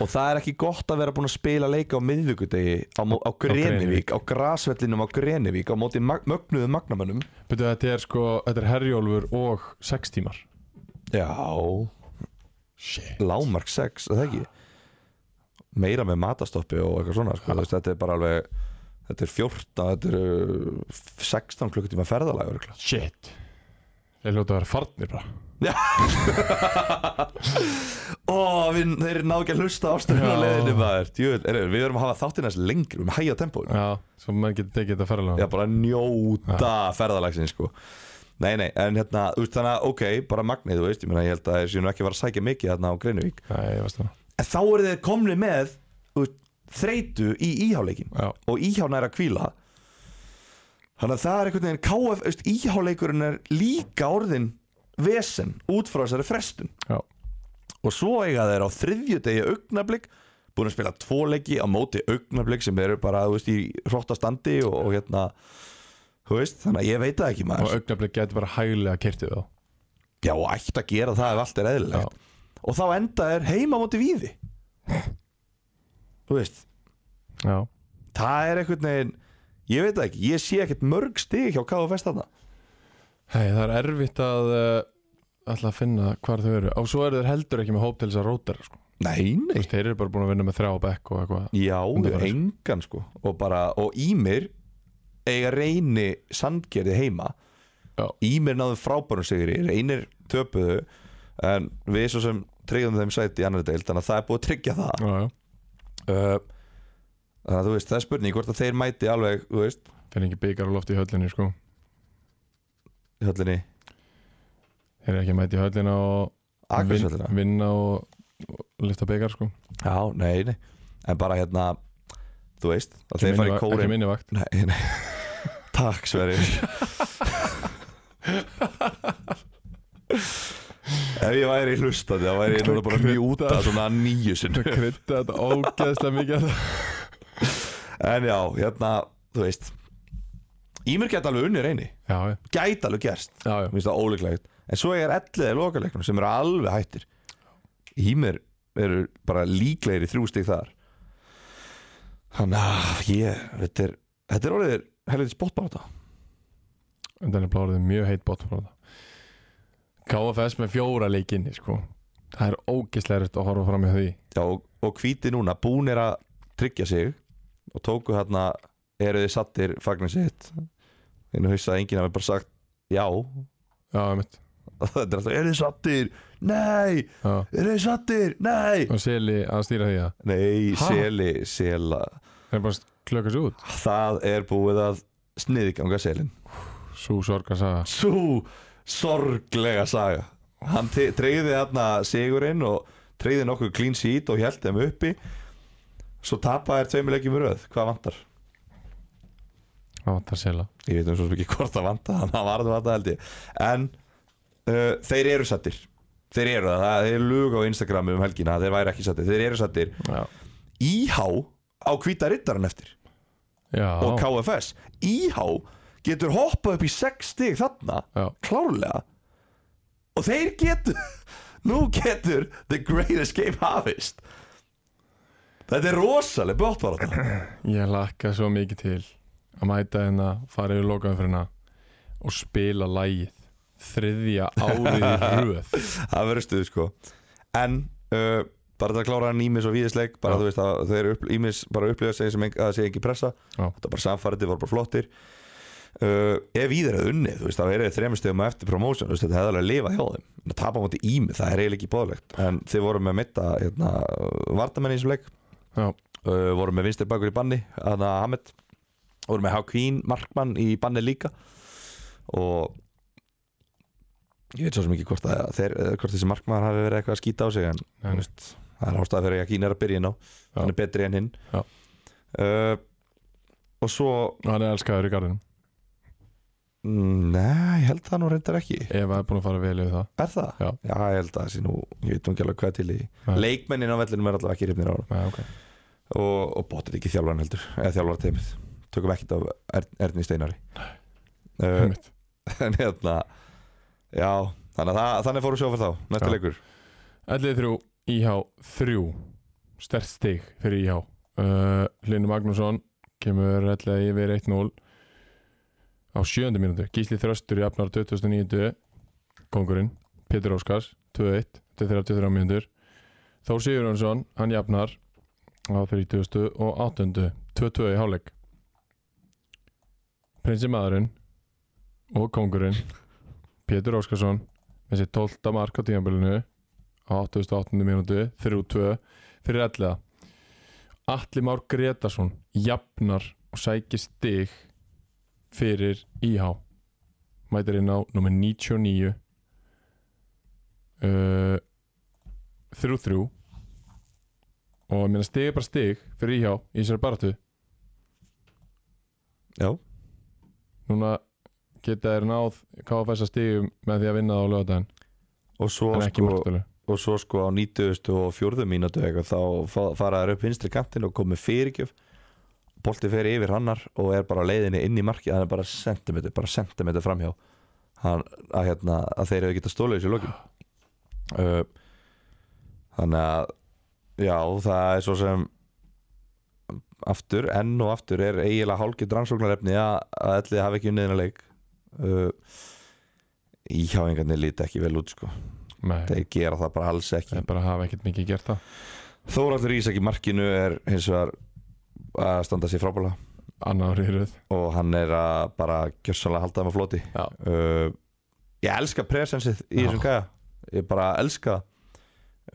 B: Og það er ekki gott að vera búin að spila leika á miðvíkudegi á, mó- á Grenivík, á grasvellinum á Grenivík á móti mag mögnuðu magnamönnum
A: betur þetta er sko, þetta er herjólfur og sex tímar
B: Já
A: Shit
B: Lámark 6, er það ekki Meira með matastoppi og eitthvað svona sko. Þú veist, Þetta er bara alveg Þetta er 14, þetta er uh, 16 klukkutíma ferðalag örugglega.
A: Shit Þeir hljóta að vera farnir bara
B: Ó, við, þeir ná ekki að hlusta ástæðinu
A: Já.
B: á leiðinu maður Djöfull, er, Við erum að hafa þáttinn þess lengri, við erum að hæja tempóinu
A: Já, svo menn getur tekið þetta ferðalega
B: Já, bara njóta ferðalagsins sko. Nei, nei, en hérna, þú veist þannig að, ok, bara magnið, þú veist, ég meina, ég held að þeir séu nú ekki að fara að sækja mikið þarna á Greinvík.
A: Nei, ég veist það
B: En þá eru þeir komni með, þú veist, þreytu í íháleikin
A: Já,
B: og íhána er að kvíla. Þannig að það er einhvern veginn, KF, þú veist, íháleikurinn er líka orðin vesen út frá þessari frestun.
A: já,
B: Og svo eiga þeir á þriðju degi augnablik, búin að spila tvo leiki á móti augnablik sem eru bara, þú veist, í hróttastandi og, og hérna, þú veist, þannig að ég veit það ekki maður.
A: og augnablik getur bara hæglega kertið þá
B: Já, og ætti að gera það ef allt er eðlilegt Og þá enda er heima á móti víði Þú veist
A: Já,
B: Það er einhvern veginn Ég veit það ekki, ég sé ekkert mörg stig hjá KFS þarna
A: hei, það er erfitt að uh, ætla að finna hvar þau eru og svo eru þeir heldur ekki með hóp til þess að rótera sko.
B: Nei,
A: Þú
B: nei
A: veist, Þeir eru bara búin að vinna með þrjá og bekk og eitthvað
B: Já,
A: Undanfarið.
B: engan sko Og bara, og Ímir eiga reyni sandgerði heima
A: Já.
B: Ímir náðu frábærum sigri Reynir töpuðu En við svo sem treyðum þeim sæti í annar deild Þannig að það er búið að tryggja það
A: Já, já,
B: Uh, Þannig að þú veist, það er spurning hvort að þeir mæti alveg, þú veist,
A: þeir eru ekki byggar á lofti í höllinni sko
B: í höllinni
A: Þeir eru ekki að mæta í höllina og vin,
B: Akranesvöllina
A: vinna og, og lifta byggar sko
B: Já, nei, nei En bara hérna, þú veist að þeir fara í
A: Ekki
B: kórin
A: minni vakt
B: Nei, nei Takk Sverri Ef ég væri hlustandi þá væri ég núna bara mjúta svona nýju sinn
A: Það krydda þetta ógeðslega mikið
B: En já, hérna, þú veist Ímur geta alveg unni reyni
A: Já, já,
B: Gæti alveg gerst
A: já, já.
B: Mér finnst það óleiklegt En svo er elliði lokaleiknum sem eru alveg hættir Hímir eru bara líklegir í þrjú stig þar Þannig að ég, þetta er, þetta er orðið helviti spottbáta
A: En þannig bláður þið mjög heit bótt frá það KFS með fjóra leikinni sko Það er ógeðslega erfitt að horfa fram í því
B: Já, og, og hvíti núna, búnir að tryggja sig og tóku hérna eru þið sattir fagnir sitt inn og hausa að enginn hafi bara sagt já
A: já, einmitt
B: þetta er alltaf eru þið sattir, nei
A: já.
B: eru þið sattir, nei
A: og Seli að stýra því að
B: nei,
A: Ha?
B: seli, sela
A: það er bara klöka sér út
B: það er búið að sniðganga selin
A: svo sorg að saga
B: svo sorglega saga hann te- tryggði þarna sigurinn og tryggði nokkuð clean sheet og held þeim uppi svo tapaði þér tveimur leikjum í röð hvað vantar?
A: það vantar Sela
B: ég veit um svo sem ekki hvort það vantar þannig að varðu vantar held ég en uh, þeir eru sattir þeir eru það, það þeir luga á Instagram um helgina að þeir væri ekki sattir, þeir eru sattir
A: já,
B: IH á hvíta riddaran eftir
A: já,
B: og KFS IH getur hoppað upp í 6 stig þarna
A: já.
B: klárlega og þeir getur nú getur The Great Escape hafist þetta er rosaleg bóttvarað
A: ég lakka svo mikið til að mæta hérna fara yfir lokaðumfyrirna og spila lægið þriðja árið í röð
B: það verður stuð sko en uh, bara þetta að klára hann ímis og víðisleik bara
A: Já.
B: þú veist að þeir upp, ímis bara upplifa sig sem enga, að það sé ekki pressa
A: Já.
B: þetta er bara samfærið, voru bara flottir uh, ef íðir að unnið þú veist það verið þremur stegum eftir promotion þú veist, þetta hefði alveg að lifa hjá þeim en að tapa á móti ími það er eiginlega ekki bóðlegt en þeir voru með mitta hérna, vartamenn í þessum leik
A: já,
B: uh, voru með vinstri bakur í banni þannig að Hamed voru með Hákvín Markmann í banni líka og ég veit svo sem ekki hvort, að, þeir, eh, hvort þessi Markmann hafi verið eitthvað að skýta á sig en
A: Nei, nei.
B: veist, það er ástæða fyrir að Kín er að byrja inn á
A: Já.
B: hann er betri en hinn
A: Já.
B: uh, og svo
A: hann er elskaður í garðinum
B: mm, nei, ég held það nú reyndar ekki
A: ef það er búin að fara vel yfir það
B: er það?
A: Já.
B: ég held það sé nú, ég veit nú ekki alveg hvað til í
A: Nei.
B: leikmennin á vellinum er allavega ekki reyfnir á hann
A: Nei, okay.
B: og, og bótið ekki þjálfaran heldur eða þjálfara teimið tökum ekkert af er, Erni Steinari uh,
A: Einmitt.
B: en hérna já, þannig, að það, þannig fóru sjófar þá næsta
A: Já.
B: leikur
A: 11-3, IH 3 stert stig fyrir IH uh, Hlynur Magnússon kemur 11 yfir 1-0 á sjöndu mínútu Gísli Þröstur í afnar 2009 kongurinn, Pétur Óskars 2-1, þetta er 33 mínútur Þór Sigurjónsson, hann jafnar á 30 og 8 2-2 í hálfleik Prinsi maðurinn og kongurinn Pétur Óskarsson með sér 12. mark á tímanbölinu á 88. mínútu 3-2 fyrir 11 Atli Már Gretarsson jafnar og sækir stig fyrir IH mætir inn á nummer 99 uh, 3-3 og ég meina stig er bara stig fyrir IH í þessari baratu
B: já,
A: núna geta þær náð KFS að stigum með því að vinna það á lögadaginn
B: og svo
A: en ekki
B: sko,
A: marktölu
B: og svo sko á 90 og 4 mínútu eitthvað, þá fa- fara þær upp hinstri kantinn og komið fyrirgjöf boltið fer yfir hannar og er bara á leiðinni inn í markið, hann er bara sentimeter bara sentimeter framhjá hann, að, hérna, að þeir eru geta stólið þessu lókin uh, þannig að já, það er svo sem aftur, enn og aftur er eiginlega hálkitt rannsóknarefni að, að ætli hafi ekki unniðina leik uh, íhjáingarnir líti ekki vel út sko
A: Nei,
B: þeir gera það bara alls ekki
A: þeir bara hafa ekkert mikið gert það
B: Þóraldur Ísak í markinu er hins vegar að standa sér frábæla
A: annar árið í röð
B: og hann er að bara gjörsanlega halda það með floti
A: Já.
B: uh, ég elska presensið
A: Já.
B: í þessum gæja ég bara elska það.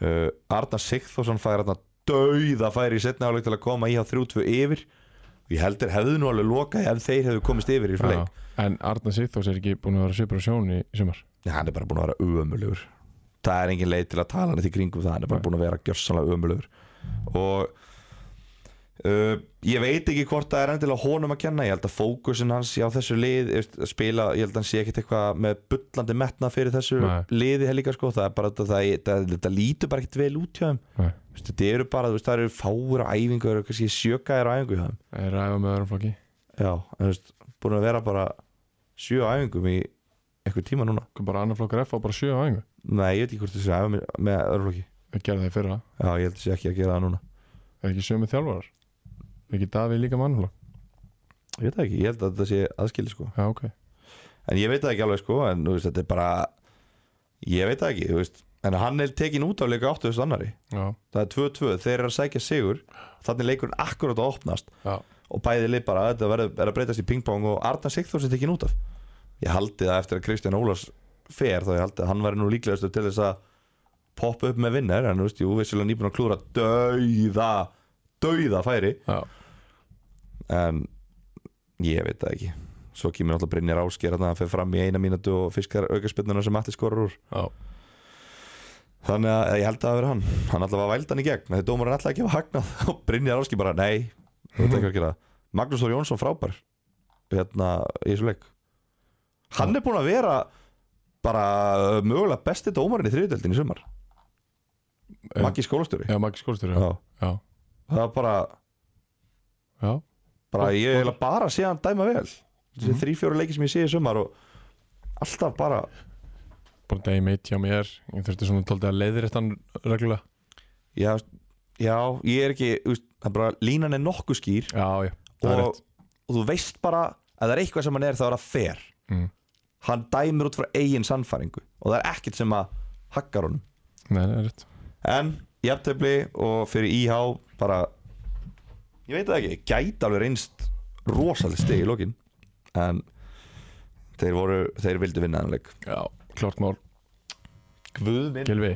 B: uh, Arna Sigþórsson fær hérna dauða færi í setna áleik til að koma í á 3-2 yfir ég held þeir hefðu nú alveg lokað ef þeir hefðu komist yfir í
A: Já,
B: fleik
A: en Arna Sigþós er ekki búin að vera svipur á sjón í í sumar
B: Nei, hann er bara búin að vera ömulugur það er engin leið til að tala hann í kringum það hann er bara
A: Nei.
B: búin að vera gjörsanlega ömulugur og uh, ég veit ekki hvort það er endilega honum að kenna ég held að fókusin hans á þessu lið þú veist, að spila, ég held að hann sé ekkit eitthvað með bullandi metna fyrir þessu
A: Nei.
B: liði helga sko, það er bara þetta, það, það, þetta lítur bara ekkit vel út hjá þeim
A: Nei.
B: Þú veist, þetta eru bara, þú veist, það eru fáur á æfingu, það eru kannski sjökaðir á æfingu hjá þeim
A: er ræða með öðrum flokki
B: já, en þú veist, búin að vera bara sjö á æfingum í eitthvað tíma núna
A: Hvað bara annar flokkar F á bara sjö á engu
B: Nei, ég veit ekki hvort þessi æfa með, með örflokki
A: við gerðum það í fyrra,
B: Já, ég held þessi ekki að gera það núna
A: er ekki sömu þjálfarar er ekki Davíð líka mannflokk
B: Ég veit það ekki, ég held að þetta sé aðskili sko
A: já ok,
B: En ég veit það ekki alveg sko En þú veist, þetta er bara Ég veit það ekki, þú veist en hann er tekin út af leika 8.000 annari
A: já,
B: það er 2-2, þeir eru að sækja sigur þannig leikurinn akkurat að opnast
A: já,
B: og bæði leið bara þetta verður er að breytast í pingpong og Arna Sigþórs er tekin út af ég haldi það eftir að Kristján Ólafs fer þá ég haldi að hann væri nú líklegastur til þess að poppa upp með vinnar en þú veist, jú, vissulega nýbúin að klúra dauða, dauða færi
A: já.
B: en ég veit það ekki svo kemur alltaf Brynjar Ásker að hann fer fram í eina mínútu og fiskar aukaspennuna sem Matti skorur úr
A: já.
B: þannig að ég held að það verður hann hann alltaf var vældan í gegn, þegar dómarinn alltaf ekki var hagnað og Brynjar Ásker bara, nei þú veit ekki að gera það. Magnús Þór Jónsson frábær hérna í þessu leik hann er búin að vera bara uh, mögulega besti dómarinn í þriðutöldin í sumar
A: Eh,
B: Maggi skólastjóri
A: Já, Maggi Skólstjóri, já.
B: Já.
A: já,
B: það var bara,
A: já,
B: bara ég er bara að sé hann dæma vel þessi
A: Mhm.
B: mm. þrý-fjóru leiki sem ég sé í sumar og alltaf bara
A: bara degi mitt hjá mér, ég þurfti svona tóldi að leiðrétta hann reglulega.
B: já, já, ég er ekki þú veist, það er bara, línan er nokkuð skýr
A: Já, já, það er
B: og,
A: rétt.
B: og þú veist bara að það er eitthvað sem hann er þá er það fer
A: Mm.
B: hann dæmir út frá eigin sannfæringu og það er ekkert sem að hakkar honum
A: Nei, það er rétt.
B: en jafntefli og fyrir IH bara ég veit það ekki, gæti alveg reynst rosalega stegi í lokin en þeir voru, þeir vildu vinna þennan leik
A: Já, klart mál.
B: Guð minn
A: Gilvi,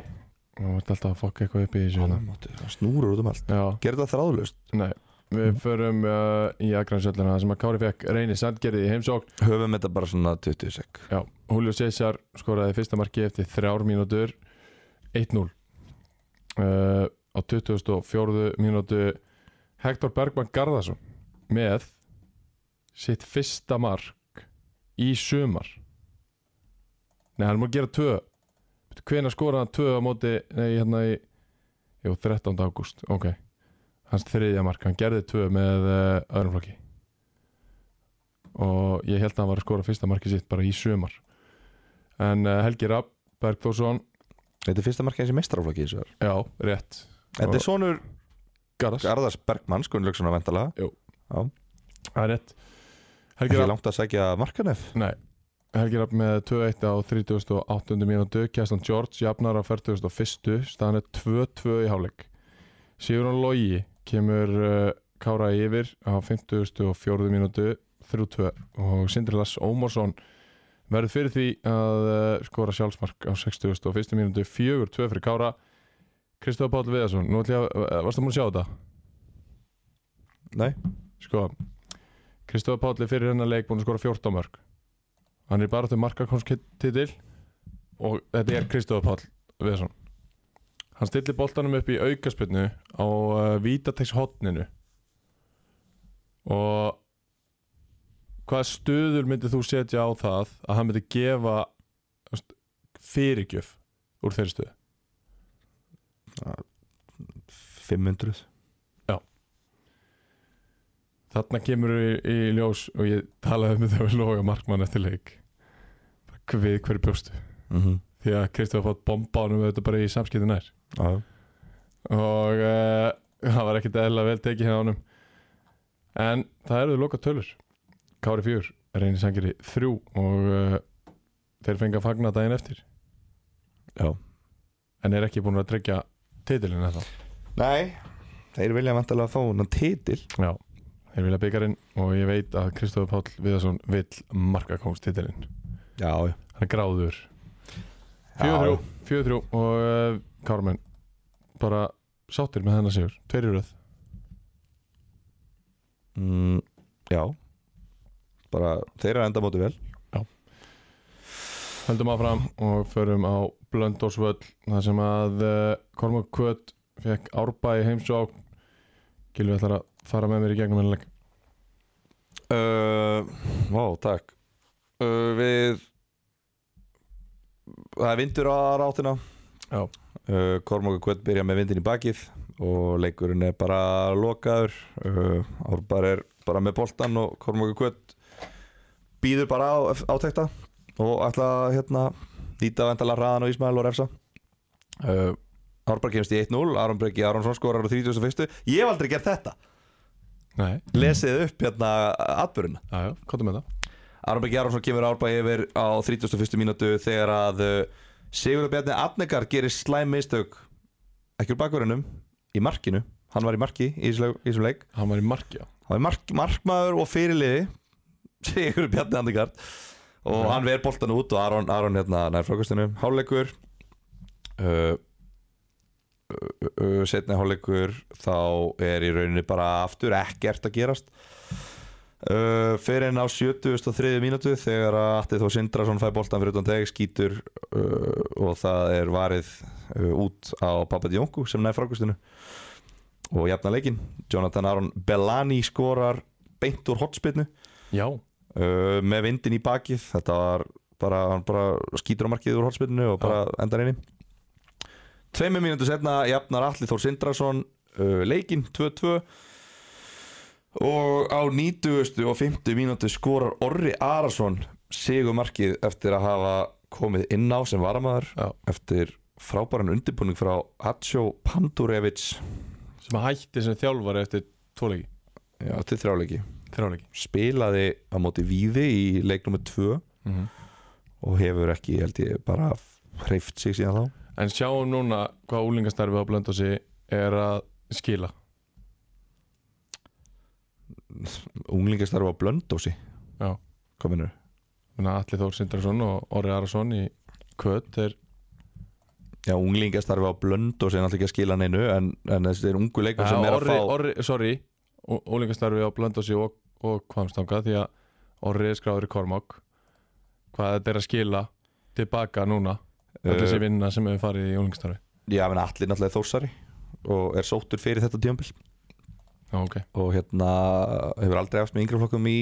A: þú ert alltaf að fokka eitthvað upp í þessu hérna.
B: snúrur út um allt
A: Já,
B: gerðu það þráðlust,
A: nei. Við förum uh, í agransöllina sem að Kári fekk reyni sandgerði í heimsókn
B: höfum þetta bara svona 20 sek
A: Já, Julio César skoraði fyrsta marki eftir þrjár mínútur 1-0 uh, á 24. mínútu Hector Bergman Garðarsson með sitt fyrsta mark í sumar Nei, hann er múið að gera tvö Hvena skoraði hann tvö á móti Nei, hérna í Jú, 13. ágúst, ok Hans þriðja mark, hann gerði tvö með uh, öðrum flokki og ég held að hann var að skora fyrsta markið sitt bara í sumar en uh, Helgi Rapp Bergþórsson,
B: þetta er fyrsta markið hans í meistaraflaki þessu þar
A: já, rétt
B: þetta er sonur
A: Garðars,
B: Garðars Bergmanns, Gunnlaugssonar vantala
A: Jú.
B: Já,
A: það er rétt Helgi
B: ekki
A: Rapp,
B: langt að segja markanef
A: nei Helgi Rapp með 2-1 á 38. mínútu Kjæstan George jafnar á 41. staðan er 2-2 í hálfleik Sigurðan Logi kemur uh, Kára yfir á 54. mínútu 3-2 og Sindri Lars Ómarsson verður fyrir því að uh, skora sjálfsmark á 61. mínútu 4-2 fyrir Kára Kristof Páll Viðarsson, nú ætlum ég að, uh, varstu múin að sjá þetta?
B: Nei.
A: Sko, Kristof Páll er fyrir hennar leik búin að skora 14 mörg Hann er bara til markakonstitil og þetta er Kristof Páll Viðarsson Hann stillir boltanum upp í aukaspinnu á uh, Vítatex hotninu og hvaða stuður myndir þú setja á það að hann myndi gefa þú veist, fyrirgjöf úr þeirri stuðu?
B: 500
A: Þarna kemur í, í ljós og ég talaði með þau að loga markmann eftir leik Bara við hverju bjóstu
B: mm -hmm.
A: því að Kristof fótt bomba honum auðvitað bara í samskipti nær
B: Já,
A: og uh, það var ekkert eðla vel tekið hérna honum en það eru loka tölur Kári 4, reynir sangeri 3 og uh, þeir fengi að fagna daginn eftir
B: já
A: en er ekki búin að tryggja titilin eða
B: Nei, þeir vilja vantilega að fá hennan titil
A: Já, þeir vilja byggarinn og ég veit að Kristof Páll Viðarsson vill markakóns titilin
B: Já, já
A: hann er gráður
B: Já.
A: 4-3 4-3 og uh, Kármenn bara sáttir með þennan sigur tveir í röð
B: mm, Já Bara, þeir eru að enda móti vel
A: höldum áfram og förum á Blöndórsvöll þar sem að uh, Kormák Kvöt fekk árbæ í heimsók Gilvi ætlar að fara með mér í gegnum hennileg
B: uh, Ó, takk uh, Við Það er vindur á ráttina
A: Já.
B: uh, Kormokur Kvöld byrja með vindin í bakið og leikurinn er bara lokaður uh, Árbar er bara með boltan og Kormokur Kvöld býður bara á átekta og ætla að, hérna nýta vendala hraðan og Ísmael og refsa uh, Árbar kemst í 1-0 Aron Breki Aronsson skorar á 31. Ég hef aldrei gert þetta
A: Nei,
B: lesið upp hérna atbyrjun
A: aðjó, kottum með það
B: Aron Beggi Aronsson kemur árbæði yfir á 31. mínútu þegar að uh, Sigurður Bjarni Adnegar gerir slæm mistök ekki úr bakverðinum í markinu, hann var í marki í þessum leik- í þessum leik
A: Hann var í markja
B: hann var mark, markmaður og fyrirliði Sigurður Bjarni Adnegar og
A: Já.
B: hann ver boltan út og Aron, Aron hérna nær frákastinu, hálfleikur uh, uh, setni hálfleikur þá er í rauninni bara aftur ekkert að gerast uh, fyrir en á 73. mínútu þegar að Atti Þór Sindrason fæ boltan fyrir utan teg skýtur uh, og það er varið uh, út á Papad Jónku sem næði frákustinu og jafna leikinn Jonathan Aron Bellani skorar beint úr hotspinnu
A: Já
B: uh, með vindin í bakið þetta var bara, hann bara skýtur á markið úr hálspilinu og bara endar einni tveimur mínútu setna jafnar Alli Þór Sindrason uh, leikinn 2-2 og á 90. og 50. mínútu skorar Orri Arason sigur markið eftir að hafa komið inn á sem varamæður
A: Já.
B: eftir frábæran undirbúning frá Hatsjó Pandurevic
A: Sem að hætti sem þjálfari eftir tvoleiki
B: Já, til þrjáleiki
A: Þrjáleiki
B: spilaði á móti Víði í leiknum 2
A: mm
B: og hefur ekki, ég held ég, bara hreift sig síðan þá
A: En sjáum núna hvað úlingastarfið á Blöndosi er að skila
B: Unglingastarf á Blöndósi
A: Já.
B: Hvað minnur?
A: Þannig að Alli Þór Sindrason og Orri Arason í kvöt er
B: Já, unglingastarf á Blöndósi er náttúrulega ekki að skila neinu en, en þessi er ungu leikur sem er að
A: orri,
B: fá
A: orri, Sorry, úlingastarfið á Blöndosi og, og Kvamstanga því að Orri er skráður í Kormák Hvað þetta er að skila tilbaka núna
B: Uh,
A: Allir þessi vinna sem hefur farið í úlingastarfi
B: Já, menn allir náttúrulega er þórsari og er sóttur fyrir þetta tíambil
A: Já, ok,
B: og hérna hefur aldrei eftir með yngri flokkum í,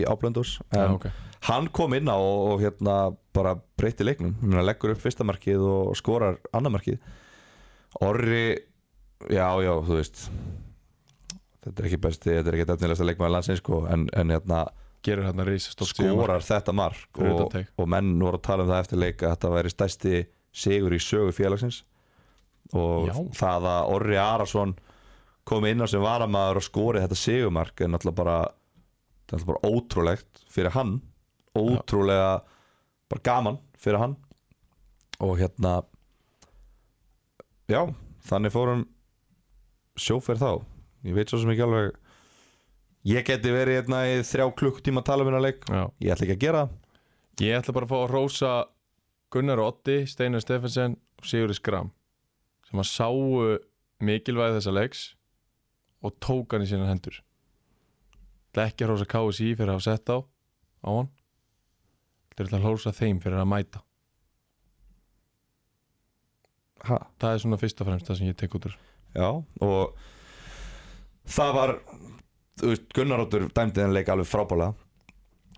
B: í á Blöndós
A: já,
B: en
A: ok
B: hann kom inn á og, og hérna bara breyti leiknum Ég meina, leggur upp fyrsta markið og skorar annar markið Orri já já þú veist þetta er ekki besti, þetta er ekki efnilegasta leikmaður landsins sko, en, en hérna
A: Gerir hérna reisastótt
B: skorar þetta mark
A: Fyrir utan
B: og,
A: teig.
B: og menn voru að tala um það eftir leik að þetta væri stærsti sigur í sögu félagsins og
A: Já.
B: það að Orri Arason kom inn á sem varamaður og skorið þetta sigumark er náttúrulega bara, þetta er náttúrulega bara ótrúlegt fyrir hann ótrúlega bara gaman fyrir hann og hérna já, þannig fórum sjóferð þá ég veit svo sem ekki alveg ég geti verið hérna í þrjá klukkutíma að tala um hérna leik
A: Já
B: ég ætla ekki að gera það
A: Ég ætla bara að fá að rósa Gunnar Otti, Steinar Stefensen og Sigurður Skram sem að sáu mikilvæði þessa leiks og tók hann í sína hendur Það er ekki að rósa KSI fyrir að hafa sett á á hann Það er að rósa þeim fyrir að mæta
B: ha.
A: Það er svona fyrst og fremst það sem ég tek út úr
B: já, og það var þú veist, Gunnar Óttur dæmdi þennan leik alveg frábála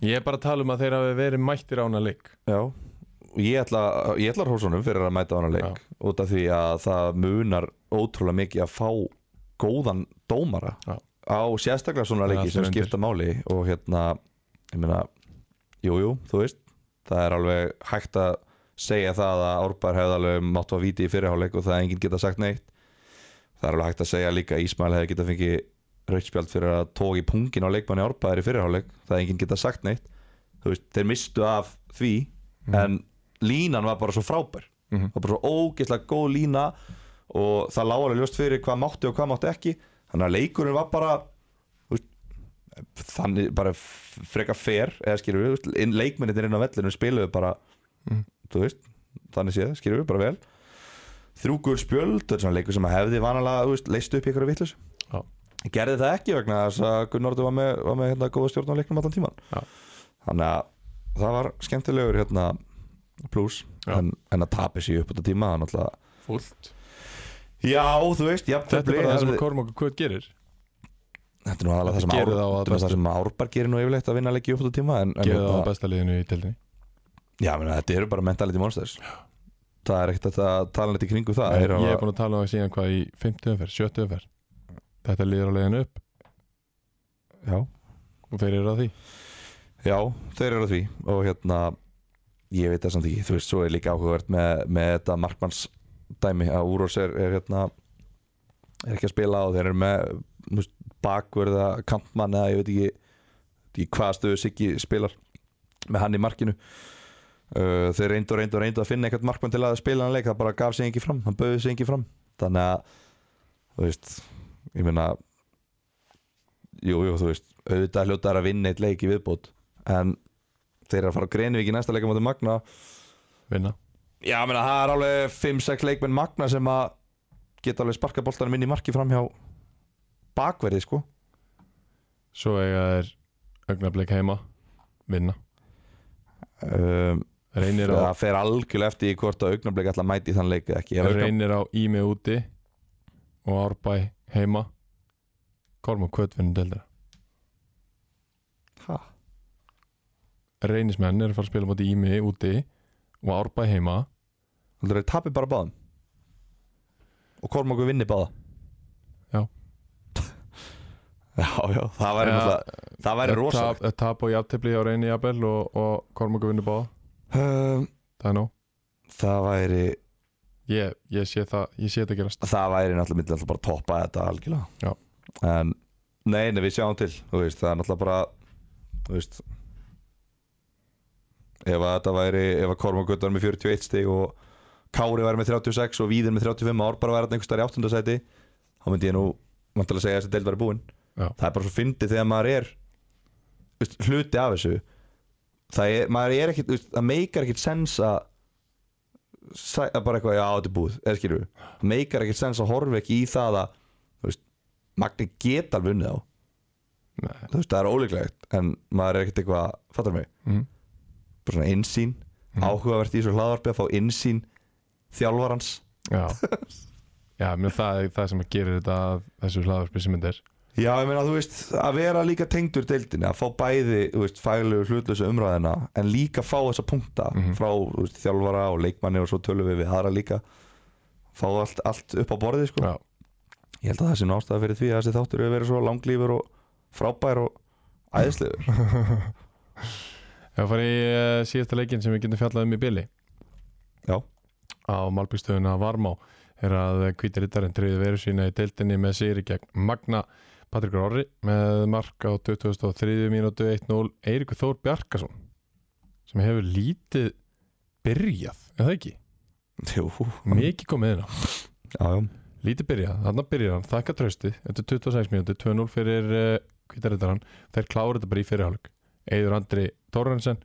A: Ég er bara að tala um að þeir hafi verið mættir á hana leik
B: já og ég ætla, ég ætla hrósunum fyrir að mæta á hana leik út af því að það munar ótrúlega mikið að fá góðan dómara
A: Já.
B: á sérstaklega
A: Það
B: svona
A: er
B: leiki
A: allt
B: sem
A: undir.
B: skipta máli og hérna, ég meina jújú, jú, þú veist, það er alveg hægt að segja það að Árbær hefði alveg máttu að víti í fyrirháleik og það enginn geta sagt neitt það er alveg hægt að segja líka að Ísmail hefði geta fengið rautspjald fyrir að tóki pungin á leikmanni árbæðir í fyrirháleik það er enginn geta sagt neitt þú veist, þeir mistu af því en línan var bara svo frábær
A: Mhm.
B: var bara svo ógeðslega góð lína og það lág alveg ljóst fyrir hvað mátti og hvað mátti ekki þannig að leikurinn var bara þú veist, þannig bara f- frekar fer eða skilur við, þú veist, inn- leikmennirnir inn á vellinu spiluðu bara þú veist, þannig séð, skilur við bara vel þrjúkur spjöld þetta er svona leikur sem að hefði vanalega, þú veist, leist upp í ykkur vittlus
A: Já.
B: gerði það ekki vegna þess að Gunnar Orður var með, var með hérna, góða stjórn á leiknum allan tíman
A: Já.
B: þannig að það var skemmtilegur hérna, plus
A: Já.
B: en, en að tapi sig upp á þetta tíma það er náttúrulega-
A: Fúlt
B: já, þú veist, jafntefli
A: Þetta er bara það sem
B: hefði-
A: Kormok og Kvöt gerir
B: þetta er nú aðalega það sem,
A: Þetta
B: ár,
A: gerir það á að
B: það, það
A: bestu.
B: sem árbar gerir nú yfirleitt að vinna leiki upp á þetta tíma en, en
A: Gerir það á
B: hérna-
A: besta liðinu í tildinni
B: já, meni, þetta eru bara mentality monsters það er ekkert hægt að tala neitt í kringum það
A: Nei,
B: Þeir hafa-
A: Ég hef búin að tala um það síðan hvað í 50 umferð, 70 umferð Þetta liður á leiðinu upp
B: já,
A: og þeir eru á því
B: Já, þeir eru að því og hérna ég veit það samt ekki, þú veist, svo er líka áhugavert með, með þetta markmanns dæmi að Úrós er, er hérna er ekki að spila og þeir eru með þú veist, bakverða, kantmann eða ég veit ekki, veit ekki hvað stöðu Siggi spilar með hann í markinu uh, þeir reyndu og reyndu og reyndu að finna eitthvað markmann til að spila hann leik það bara gaf sig ekki fram, hann bauði sig ekki fram þannig að þú veist, ég meina jú, jú, þú veist auðvitað hljóta er að vinna eitt leik í viðbót en þeir eru að fara að Greinvík í næsta leik á móti Magna
A: vinna
B: Já, ég meina, það er alveg 5-6 leikmenn Magna sem að geta alveg sparka boltanum inn í marki fram hjá bakverði, sko
A: Svo eiga þeir augnablik heima Vinna
B: um,
A: Reynir á,
B: Það fer algjörlega eftir í hvort að augnablik ætla að mæti þann leik eða ekki Ef augnablik-
A: reynir á Ími úti Og Árbæ heima Korma kvötvinni deildra
B: Ha?
A: Reynismenn er að fara að spila mátti Ími úti Og Árbæ heima
B: Heldur þeir tapir bara báðum Og Kormáku vinni báða
A: Já.
B: Já, já, það væri
A: Já.
B: náttúrulega Það væri rosalegt
A: Tap, tap og jafntefli á Reyni Jabel Og, og Kormaku vinni báða
B: um,
A: Það er nóg
B: Það væri
A: Ég, ég sé það, ég sé þetta gerast
B: Það væri náttúrulega myndið alltaf bara að toppa þetta algjörlega
A: Já.
B: En nei, nei, við sjáum til Þú veist, það er náttúrulega bara Þú veist Ef að þetta væri, ef að Kormáku var með 41 stig og Kári væri með 36 og Víðir með 35 ár bara væri þetta einhvers staðar í áttundasæti þá myndi ég nú vantilega segja að þessi deild væri búin
A: Já.
B: það er bara svo fyndið þegar maður er veist, hluti af þessu það er, maður er ekkit, veist, það meikar ekkit sens að sæ- að bara eitthvað, já þetta er búið eða skilur við, það meikar ekkit sens að horfa ekki í það að, þú veist, Magni geta alveg unnið á
A: Nei.
B: þú veist, það er óleiklegt en maður er ekkit eitthvað, fattar mig
A: mm.
B: bara svona insýn, áhugavert í þessu hlaðvarpi að fá insýn þjálfarans
A: Já Já, menn það er það sem gerir þetta að þessu hlaðarpi sem þetta er
B: Já, ég meina, þú veist, að vera líka tengdur deildinni, að fá bæði, þú veist, fægulegu hlutlösa umræðina, en líka fá þessa punkta frá, þú veist, þjálfara og leikmanni og svo tölum við við aðra líka fá allt, allt upp á borðið, sko
A: Já,
B: Ég held að það sé nú ástæða fyrir því að þessi þáttur hefur verið svo langlífur og frábær og æðislegur
A: það farið í uh, síðasta leikinn sem við getum fjallað um í byli
B: Já,
A: á Malbyggstöðuna Varmá er að hvíti rittarinn treyði veru sína í deildinni með sigri gegn Magna Patrikur Orri með mark á 2003 mínútu 1-0 Eiríkur Þór Bjarkason sem hefur lítið byrjað, er það ekki?
B: jú,
A: Mikið komið inn á
B: já, já
A: Lítið byrjað, þarna byrjar hann, þakka tröstið Þetta er 26 mínúti, 2-0 fyrir uh, kvítarriðarann Þeir klára þetta bara í fyrirhálug Eður Andri Torrensen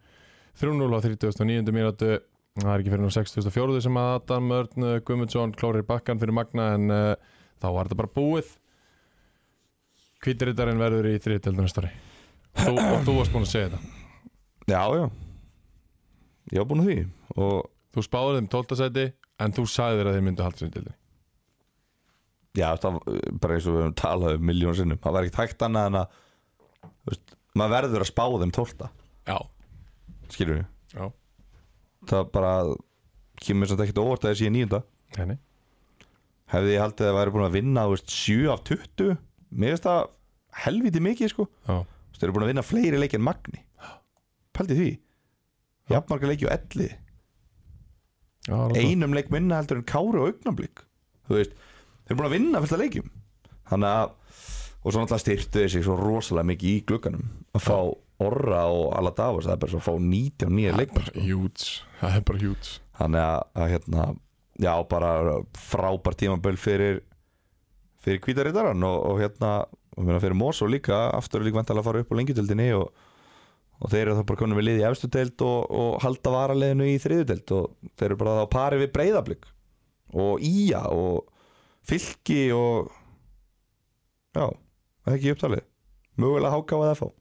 A: 3-0 á 39. mínútu Það er ekki fyrir nú 64. sem að Adam Örn eh, Guðmundsson klórir bakkan fyrir Magna en uh, þá var þetta bara búið Kvítarriðarinn verður í þriðdeldunastari þú, og þú varst búin að segja þetta
B: Já, já Ég var búin að því og
A: Þú spáðir þeim 12. sæti en þú sagðir að þeir myndu halda sér í deildinni
B: Já, það, eh, bara eins og við höfum talað um miljón sinnum, það var ekkert hægt annað en að þú veist, maður verður að spá þeim tólta,
A: Já,
B: skilur við
A: já,
B: það bara kemur samt ekkert á óvart að þessi ég nýjunda
A: henni
B: hefði ég haldið að það væri búin að vinna þú veist, 7 af 20, mér finnst það helviti mikið sko,
A: Já,
B: Þú veist, þeir eru búin að vinna fleiri leiki en Magni pældi því jafnmarga leiki og elli,
A: já Rósa.
B: einum leik minna heldur en Kári og augnamblík þú veist, þeir eru búin að vinna fullt af leikjum þannig að, og svo náttúrulega styrtu þessi svo rosalega mikið í glugganum að fá Orra og Alla Davos það er bara svo að fá 19 nýja leikmenn sko.
A: Huge, það er bara huge
B: þannig að, að hérna, já bara frábær tímaböl fyrir fyrir kvítarítaran og, og hérna og meina fyrir Mosó líka, aftur er líka vantalega að fara upp á lengjudöldinni og, og þeir eru þá bara konum við liði í efstu deild og, og halda varaleginu í þriðu deild og þeir eru bara þá á pari við breyðablík og Ía og Fylki og já, það er ekki í upptalið mögulega háká að FH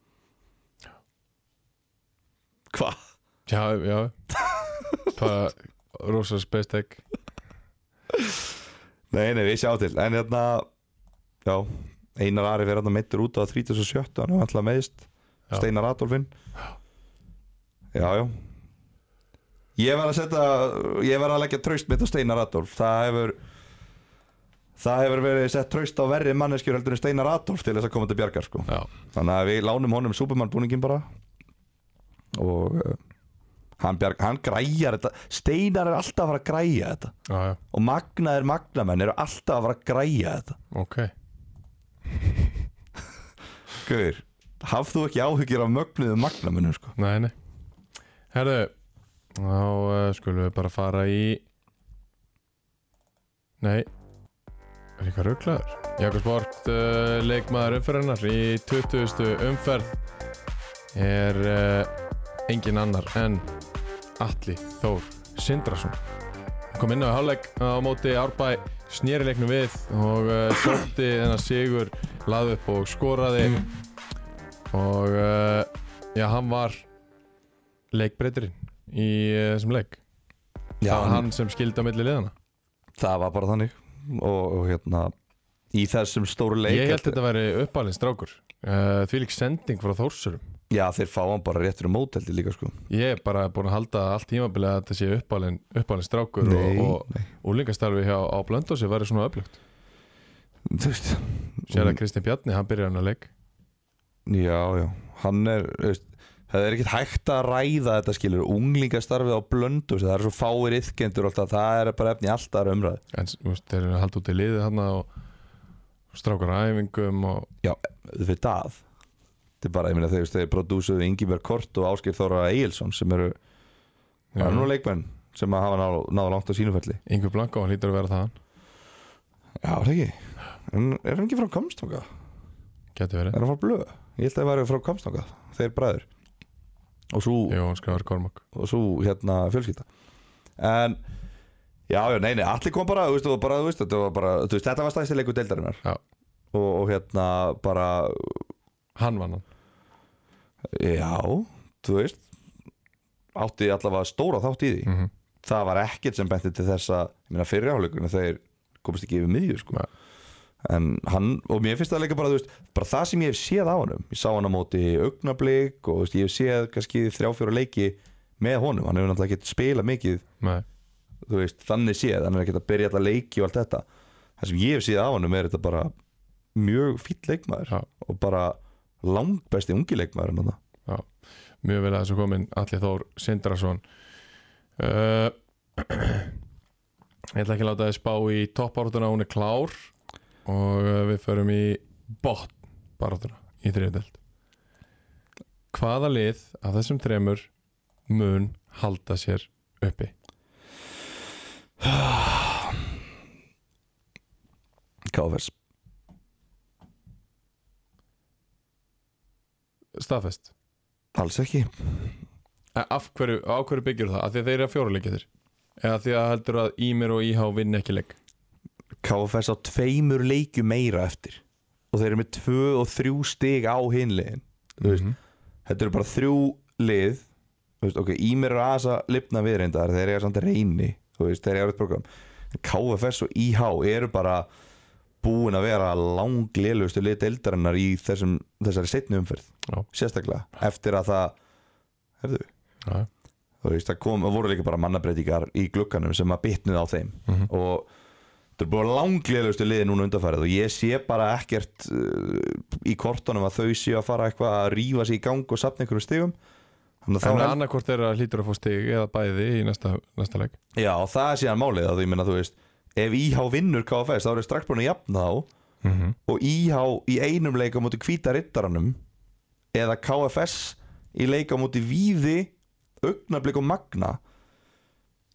B: Hvað?
A: Já, já Það er rosa space tech
B: Nei, nei, við sjáum til En hérna, já Einar Ari fyrir hérna meittur út á 37 Hann er alltaf meðist
A: Já.
B: Steinar Adolfin Já, já Ég var að setja Ég var að leggja traust mitt á Steinar Adolf Það hefur Það hefur verið sett traust á verri manneskjur heldur en Steinar Adolf til þess að koma til bjargar sko.
A: Já,
B: Þannig að við lánum honum Superman búningin bara og uh, hann, bjarg, hann græjar þetta Steinar er alltaf að fara að græja þetta
A: já, já,
B: og magnaðir magnamenn eru alltaf að fara að græja þetta
A: ok
B: Guður, hafð þú ekki áhyggjur af mögnuðu magnamennum sko
A: Nei, nei Herðu, Þá uh, skulum við bara fara í Nei Er eitthvað rugglaður? Jakobsport uh, leikmaður umferðarnar í 20. umferð er uh, engin annar en Atli Þór Sindrason kom inn á í hálfleik á móti Árbæ snýri leiknum við og uh, sótti þennan sigur laði upp og skoraði og uh, já, hann var leikbreytirinn í eh, þessum leik
B: Já,
A: það var
B: hann,
A: hann sem skildi á milli liðana
B: það var bara þannig og, og hérna í þessum stóru leik
A: ég held þetta væri uppalinn strákur uh, því lík sending frá Þórsurum
B: Já, þeir fá hann bara réttur um móteldi líka sko
A: ég er bara búin að halda allt tímabilið að þetta sé uppalinn, uppalinn strákur
B: Nei,
A: og,
B: nei.
A: og úlingastarfi hjá á Blöndósi væri svona öflugt
B: Þú veist
A: sér
B: Mm.
A: að Kristján Bjarni, hann byrjar hann að leik
B: Já, já, hann er þú veist, Það er ekkert hægt að ræða þetta skilur Unglingastarfið á blöndu Það er svo fáir yfkendur alltaf Það er bara efni alltaf umræð
A: en þú veist, þeir eru að halda út í liðið hann og og strákur á æfingum og
B: Já, þau veit að Þetta er bara, ég meina þegar þeir prodúsuðu Ingiberg Kort og Ásker Þóra Egilson sem eru
A: Já.
B: Það eru nú leikmenn sem að hafa náð, náð langt á sínufelli
A: Ingur Blanko, hann lítur að vera það hann
B: Já, það ekki En er hann ekki frá Kamstanga?
A: geti
B: Er
A: verið,
B: hann frá Blöð? Ég held að það væri frá Kamstanga Þeir bræður Og svo,
A: jú, hann skrifar Kormak
B: og svo hérna fjölskylda En Já, já, nei, nei, allir kom bara, þú veist, og bara, þú veist, þetta var bara, þú veist, þetta var stæðsti leikur deildarinnar
A: Já.
B: og, og hérna, bara,
A: hann vann hann
B: já, þú veist, átti allavega stóra þátt í því
A: mm -hmm.
B: það var ekkert sem benti til þess að ég meina fyrir áleikunum þeir komist ekki yfir miðju sko.
A: Nei.
B: en hann, og mér finnst það líka bara, þú veist, bara það sem ég hef séð á honum ég sá hann á móti augnablík og þú veist, ég hef séð kannski þrjá fjóra leiki með honum, hann hefur náttúrulega ekkert spilað mikið
A: Nei,
B: þú veist, þannig séð, hann hefur ekkert að byrja alltaf leiki og allt þetta, það sem ég hef séð á honum er þetta bara mjög fýll leikmaður
A: já,
B: og bara langbesti ungi leikmaður en þarna.
A: já mjög vel að þessu komin Alli Þór Sindrason uh, ég ætla ekki að láta þið spá í toppáratuna, hún er klár og uh, við förum í botn baratuna í þriðdelt hvaða lið af þessum þremur mun halda sér uppi
B: KFS,
A: staðfest
B: alls ekki
A: Eh, af hverju, á hverju byggjur það, af því að þeir eru að fjóra leikja þér eða af því að heldur að Ímir og Íhá vinn ekki leik
B: KFS á tveimur leikju meira eftir og þeir eru með tvö og þrjú stig á hinlegin Þú veist. þetta eru bara þrjú lið Þú veist, ok, Ímir er aðeins að lifna við reyndar þeir eru samt að reyni þú veist, þeir eru erfitt program en KFS og IH eru bara búin að vera langlelustu lið deildarinnar í þessum, þessari setni umferð
A: Já.
B: sérstaklega, eftir að það herðu,
A: Já.
B: þú veist, það kom, það voru líka bara mannabreitingar í glugganum sem að bitnuð á þeim
A: Mhm.
B: og þetta er bara langlegustu liði núna undanfærið og ég sé bara ekkert uh, í kortunum að þau séu að fara eitthvað að rífa sig í gang og sapna einhverjum stigum þannig að
A: en
B: þá
A: held... annarkvort er að hlýtur að fá stig eða bæði í næsta, næsta leik
B: já, og það er síðan málið að þú, ég meina, þú veist ef IH vinnur KFS þá eru strax búin að jafna þá
A: mm -hmm.
B: og IH í einum leik á móti hvíta rittaranum eða KFS í leik á móti víði augnablik og magna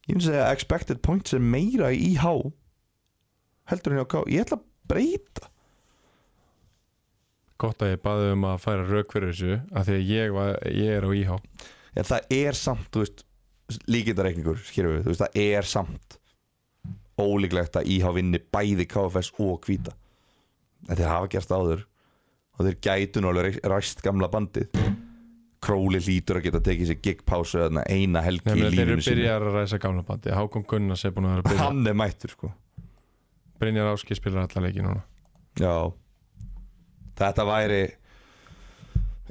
B: ég finnst að expected points er meira í IH heldur henni á K ég ætla að breyta
A: gott að ég baði um að færa rauk fyrir þessu af því að ég, var, ég er á Íhá
B: en það er samt, þú veist líkindareikningur, skýrðu við, þú veist það er samt ólíklegt að IH vinni bæði KFS og hvíta en þeir hafa gert áður og þeir gætu nú alveg ræst gamla bandið Króli lítur að geta tekið sér gigpásu þarna eina helgi
A: Nefnir,
B: í
A: þeir eru
B: lífinu sínu
A: byrjar að ræsa gamla bandi Hákon Gunnars er búin að vera að byrja
B: hann er mættur sko
A: Brynjar Áski spilar alla leiki núna
B: já þetta væri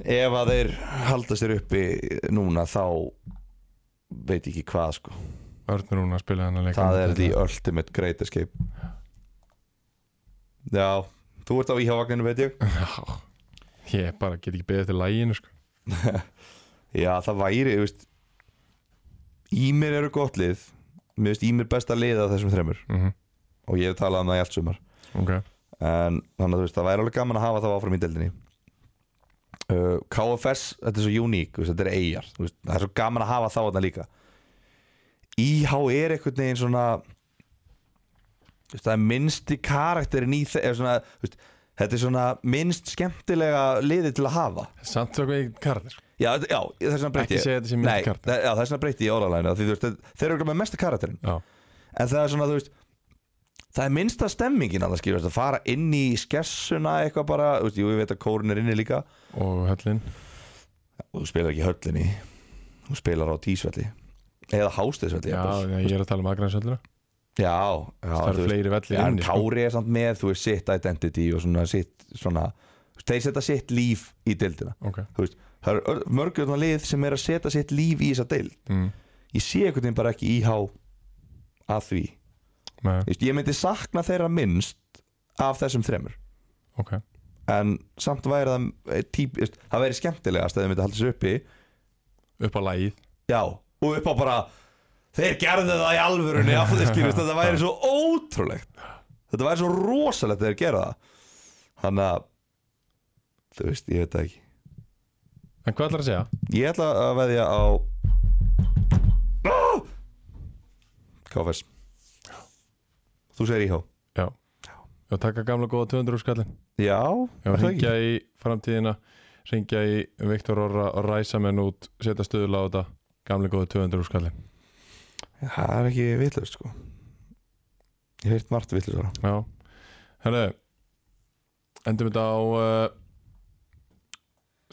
B: ef að þeir halda sér uppi núna þá veit ég ekki hvað sko
A: Örnur Rúna spilaði hann að leika
B: Það er the ultimate great escape Já, þú ert á íhjávagninu veit ég
A: ég bara get ekki beðið til læginu sko.
B: Já, það væri, þú veist Ímir eru gott lið Mér veist Ímir besta lið af þessum þremur
A: mm
B: Og ég hef talað um það í allt sumar
A: okay.
B: En þannig að þú veist, það væri alveg gaman að hafa það áfram í deldinni uh, KFS, þetta er svo uník, þetta er eigjar þú veist, Það er svo gaman að hafa þá þarna líka IH er einhvern veginn svona þú veist, það er minnsti karakterin í þeir þetta er svona minnst skemmtilega liði til að hafa
A: Samt svo ekki karðir
B: já, þetta- já þess vegna breyti
A: Ekki segja þetta sé minnsti
B: Nei,
A: karakter.
B: það- já, þess vegna breyti ég orðalæna því þú veist, þeir- þeir eru örugglega með mesta karakterin
A: Já,
B: en það er svona, þú veist það er minnsta stemmingin að það skilur að fara inn í skessuna eitthvað bara, þú veist, jú, ég veit að kórun er inni líka
A: og höllin
B: og þú spilar ekki í höllinni þú spilar á tísvelli eða hásteðsvelli
A: Já,
B: jafnvel.
A: já, ég er að tala um agrænsöllina
B: já,
A: Það
B: já þú
A: eru
B: veist,
A: fleiri velli
B: en
A: inn sko.
B: Kári er samt með, þú veist, sitt identity og svona sitt, svona þú veist, þeir setja sitt líf í deildina
A: Ok,
B: þú veist, það er mörgjörna lið sem er að setja sitt líf í þessa deild
A: mm,
B: ég sé einhvern veginn bara ekki íhá að því,
A: nei,
B: Þú veist, ég myndi sakna þeirra minnst af þessum þremur
A: ok
B: en samt væri það eh, típ, veist, það væri skemmtilegast að þau myndi halda sér uppi
A: Upp á lægið
B: já, og upp á bara þeir gerðu það í alvörunni af þeir skýrist, þetta væri svo ótrúlegt þetta væri svo rosalegt að þeir gera það þannig að þú veist, ég veit það ekki
A: En hvað ætlar að segja?
B: ég ætla að veðja á Ah! KFS þú segir íhá
A: Já Já, taka gamla góða 200 úr skallin
B: já,
A: Já,
B: er það ekki?
A: ringja í framtíðina ringja í Viktor Orra og ræsa menn út setja stöðula á þetta gamli góðu 200 úr skallin
B: það er ekki vitlaust sko ég hef heilt margt vitlaust ára
A: Já, herru endum þetta á eh, uh,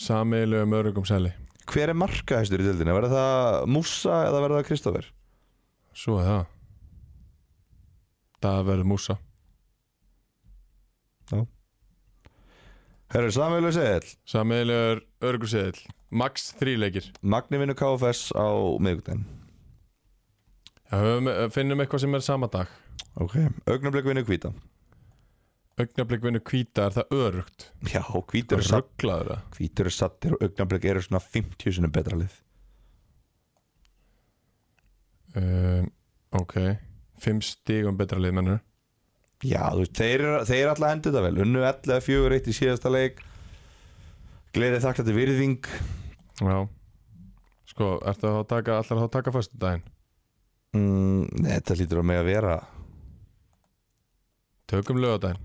A: samiðlegu mörgum seli
B: Hver er markahæstur í dildinni? Verður það Musa eða verður það Kristoffer?
A: Svo er það Það verður músa
B: Herru, Samuel Seðil,
A: Samiðlegur örgur seðil Max þríleikir
B: Magni vinnur KFS á miðvikudaginn
A: Já, höfum, eh, finnum eitthvað sem er sama dag
B: Ok Augnablik vinnur Hvíta
A: Augnablik vinnu hvíta er það örugt
B: Já, Hvítur er satt
A: Rugglaður það
B: Hvítur er sattir og Augnablik eru svona 50 sinum betra lið
A: um, Ok Fimm stígum betra liðmennur
B: Já, þú veist, þeir, eru- þeir er alltaf endur þetta vel Unnu 11 4 1 í síðasta leik Gleðið þakla til virðing
A: Já Sko, ertu að taka, allar að taka föstu daginn
B: mm, Nei, þetta lítur á mig að vera
A: Tökum lögadaginn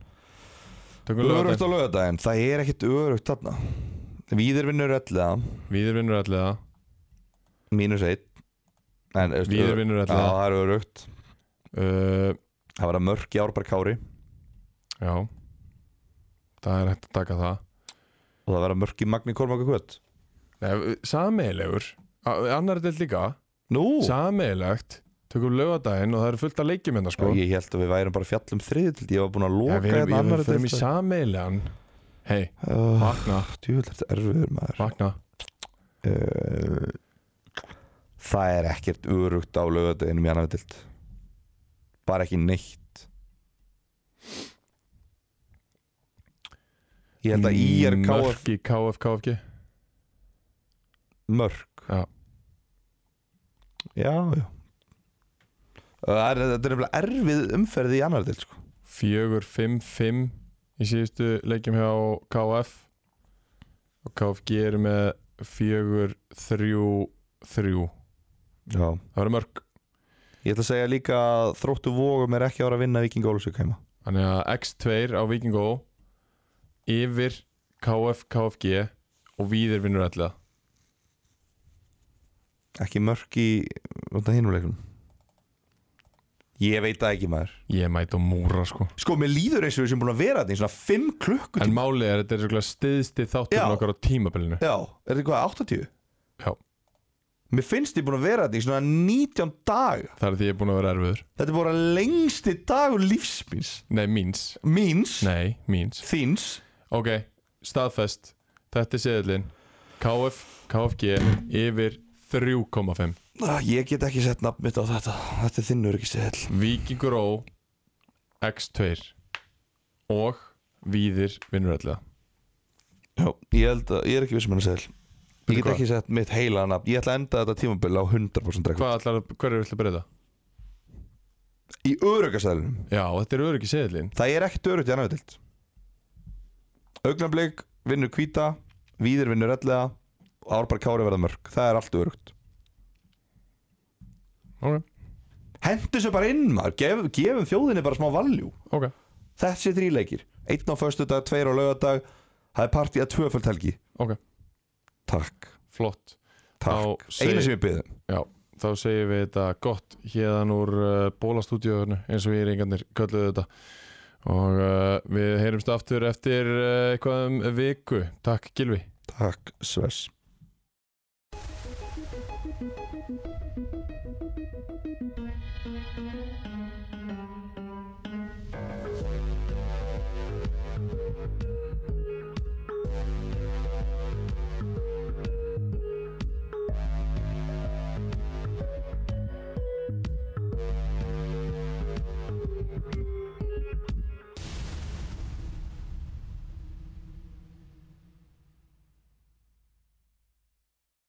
A: Tökum
B: Örugt á
A: lögadaginn
B: lögadaginn Það er ekkit örugt þarna Víður vinnur 11
A: Víðir vinnur allega
B: Mínus 1 en, þú veist,
A: Víðir
B: ö-
A: vinnur
B: Já,
A: allega
B: það er örugt
A: uh,
B: Það verða mörk í Árbær Kári
A: Já Það er hægt að taka það
B: og það verða mörk í Magni Kormáka Kvöt
A: Nei, eh, Sameilegur Annar del líka
B: Nú,
A: Sameilegt Tökum lögadaginn og það eru fullt af leikjum hérna sko
B: Já, ég held að við værum bara fjallum þriðutild ég var búinn að
A: Já,
B: loka
A: við erum,
B: hérna
A: ég,
B: annar
A: við förum í sameilegan Hei,
B: Djúvel,
A: vakna,
B: þetta er "Ah, erfiður maður
A: vakna
B: uh, Það er ekkert örugt á lögadeinum í annar dild bara ekki neitt Ég held að IR KF
A: Mörk í KF, KFG
B: mörk
A: Já.
B: Já, já Það er, þetta er nefnilega erfið umferði í annar dild sko.
A: 4-5-5 í síðustu leikjum hjá KF og KFG er með 4-3-3
B: Já
A: það verður mörg
B: Ég ætla að segja líka að þróttu vógum er ekki ára að vinna Viking Ólusvík heima
A: þannig að X2 á Vikingó yfir KF KFG og Víðir vinnur allega
B: Ekki mörk í hinuleikum Ég veit það ekki maður
A: ég mæti á múra sko
B: Sko, mér líður eins og við sem búin að vera þetta í svona 5 klukkutíma
A: en málið er að þetta er svona stiðsti
B: Já.
A: þátturinn okkar á tímabilinu
B: Já, er þetta hvað, 80?
A: Já.
B: Mér finnst ég búin að vera þetta í svona 19 dag
A: það er því ég er búin að vera erfiður
B: Þetta er bara lengsti dagur lífsmins
A: nei míns
B: Míns,
A: nei míns
B: þíns
A: Ok, staðfest Þetta er seðlinn KF, KFG yfir 3,5
B: Ah, Ég get ekki sett nafn mitt á þetta Þetta er þinn örgistil
A: Víkingur Ó X2 og Víðir vinnur allega
B: Já, ég held að, ég er ekki vissum hennar segil Ég
A: Veitu
B: get
A: hvað?
B: ekki sett mitt heila nafn Ég ætla að enda þetta tímabil á 100% drekku
A: Hvað ætlar að, hverju villu breyta?
B: Í örugasæðlinum
A: Já, þetta er öryggi seðlinn
B: Það er ekkert örugt í annar dild Augnablik, vinnur kvíta Víðir vinnur ellega Árbar Kári verða mörg, það er allt örugt
A: Ok
B: hendur þessu bara inn maður, Gef, gefum þjóðinni bara smá valjú
A: ok,
B: þessi þríleikir, einn á föstudag, tveir á laugardag það er partí að tvöföld helgi
A: ok,
B: takk,
A: flott
B: takk,
A: Þá seg-
B: eina sem ég um. byggðum
A: Já, þá segjum við þetta gott hérðan úr uh, bólastúdíóinu eins og við reyngarnir kölluðu þetta og uh, við heyrumst aftur eftir uh, eitthvað um viku. Takk Gilvi.
B: takk, Svers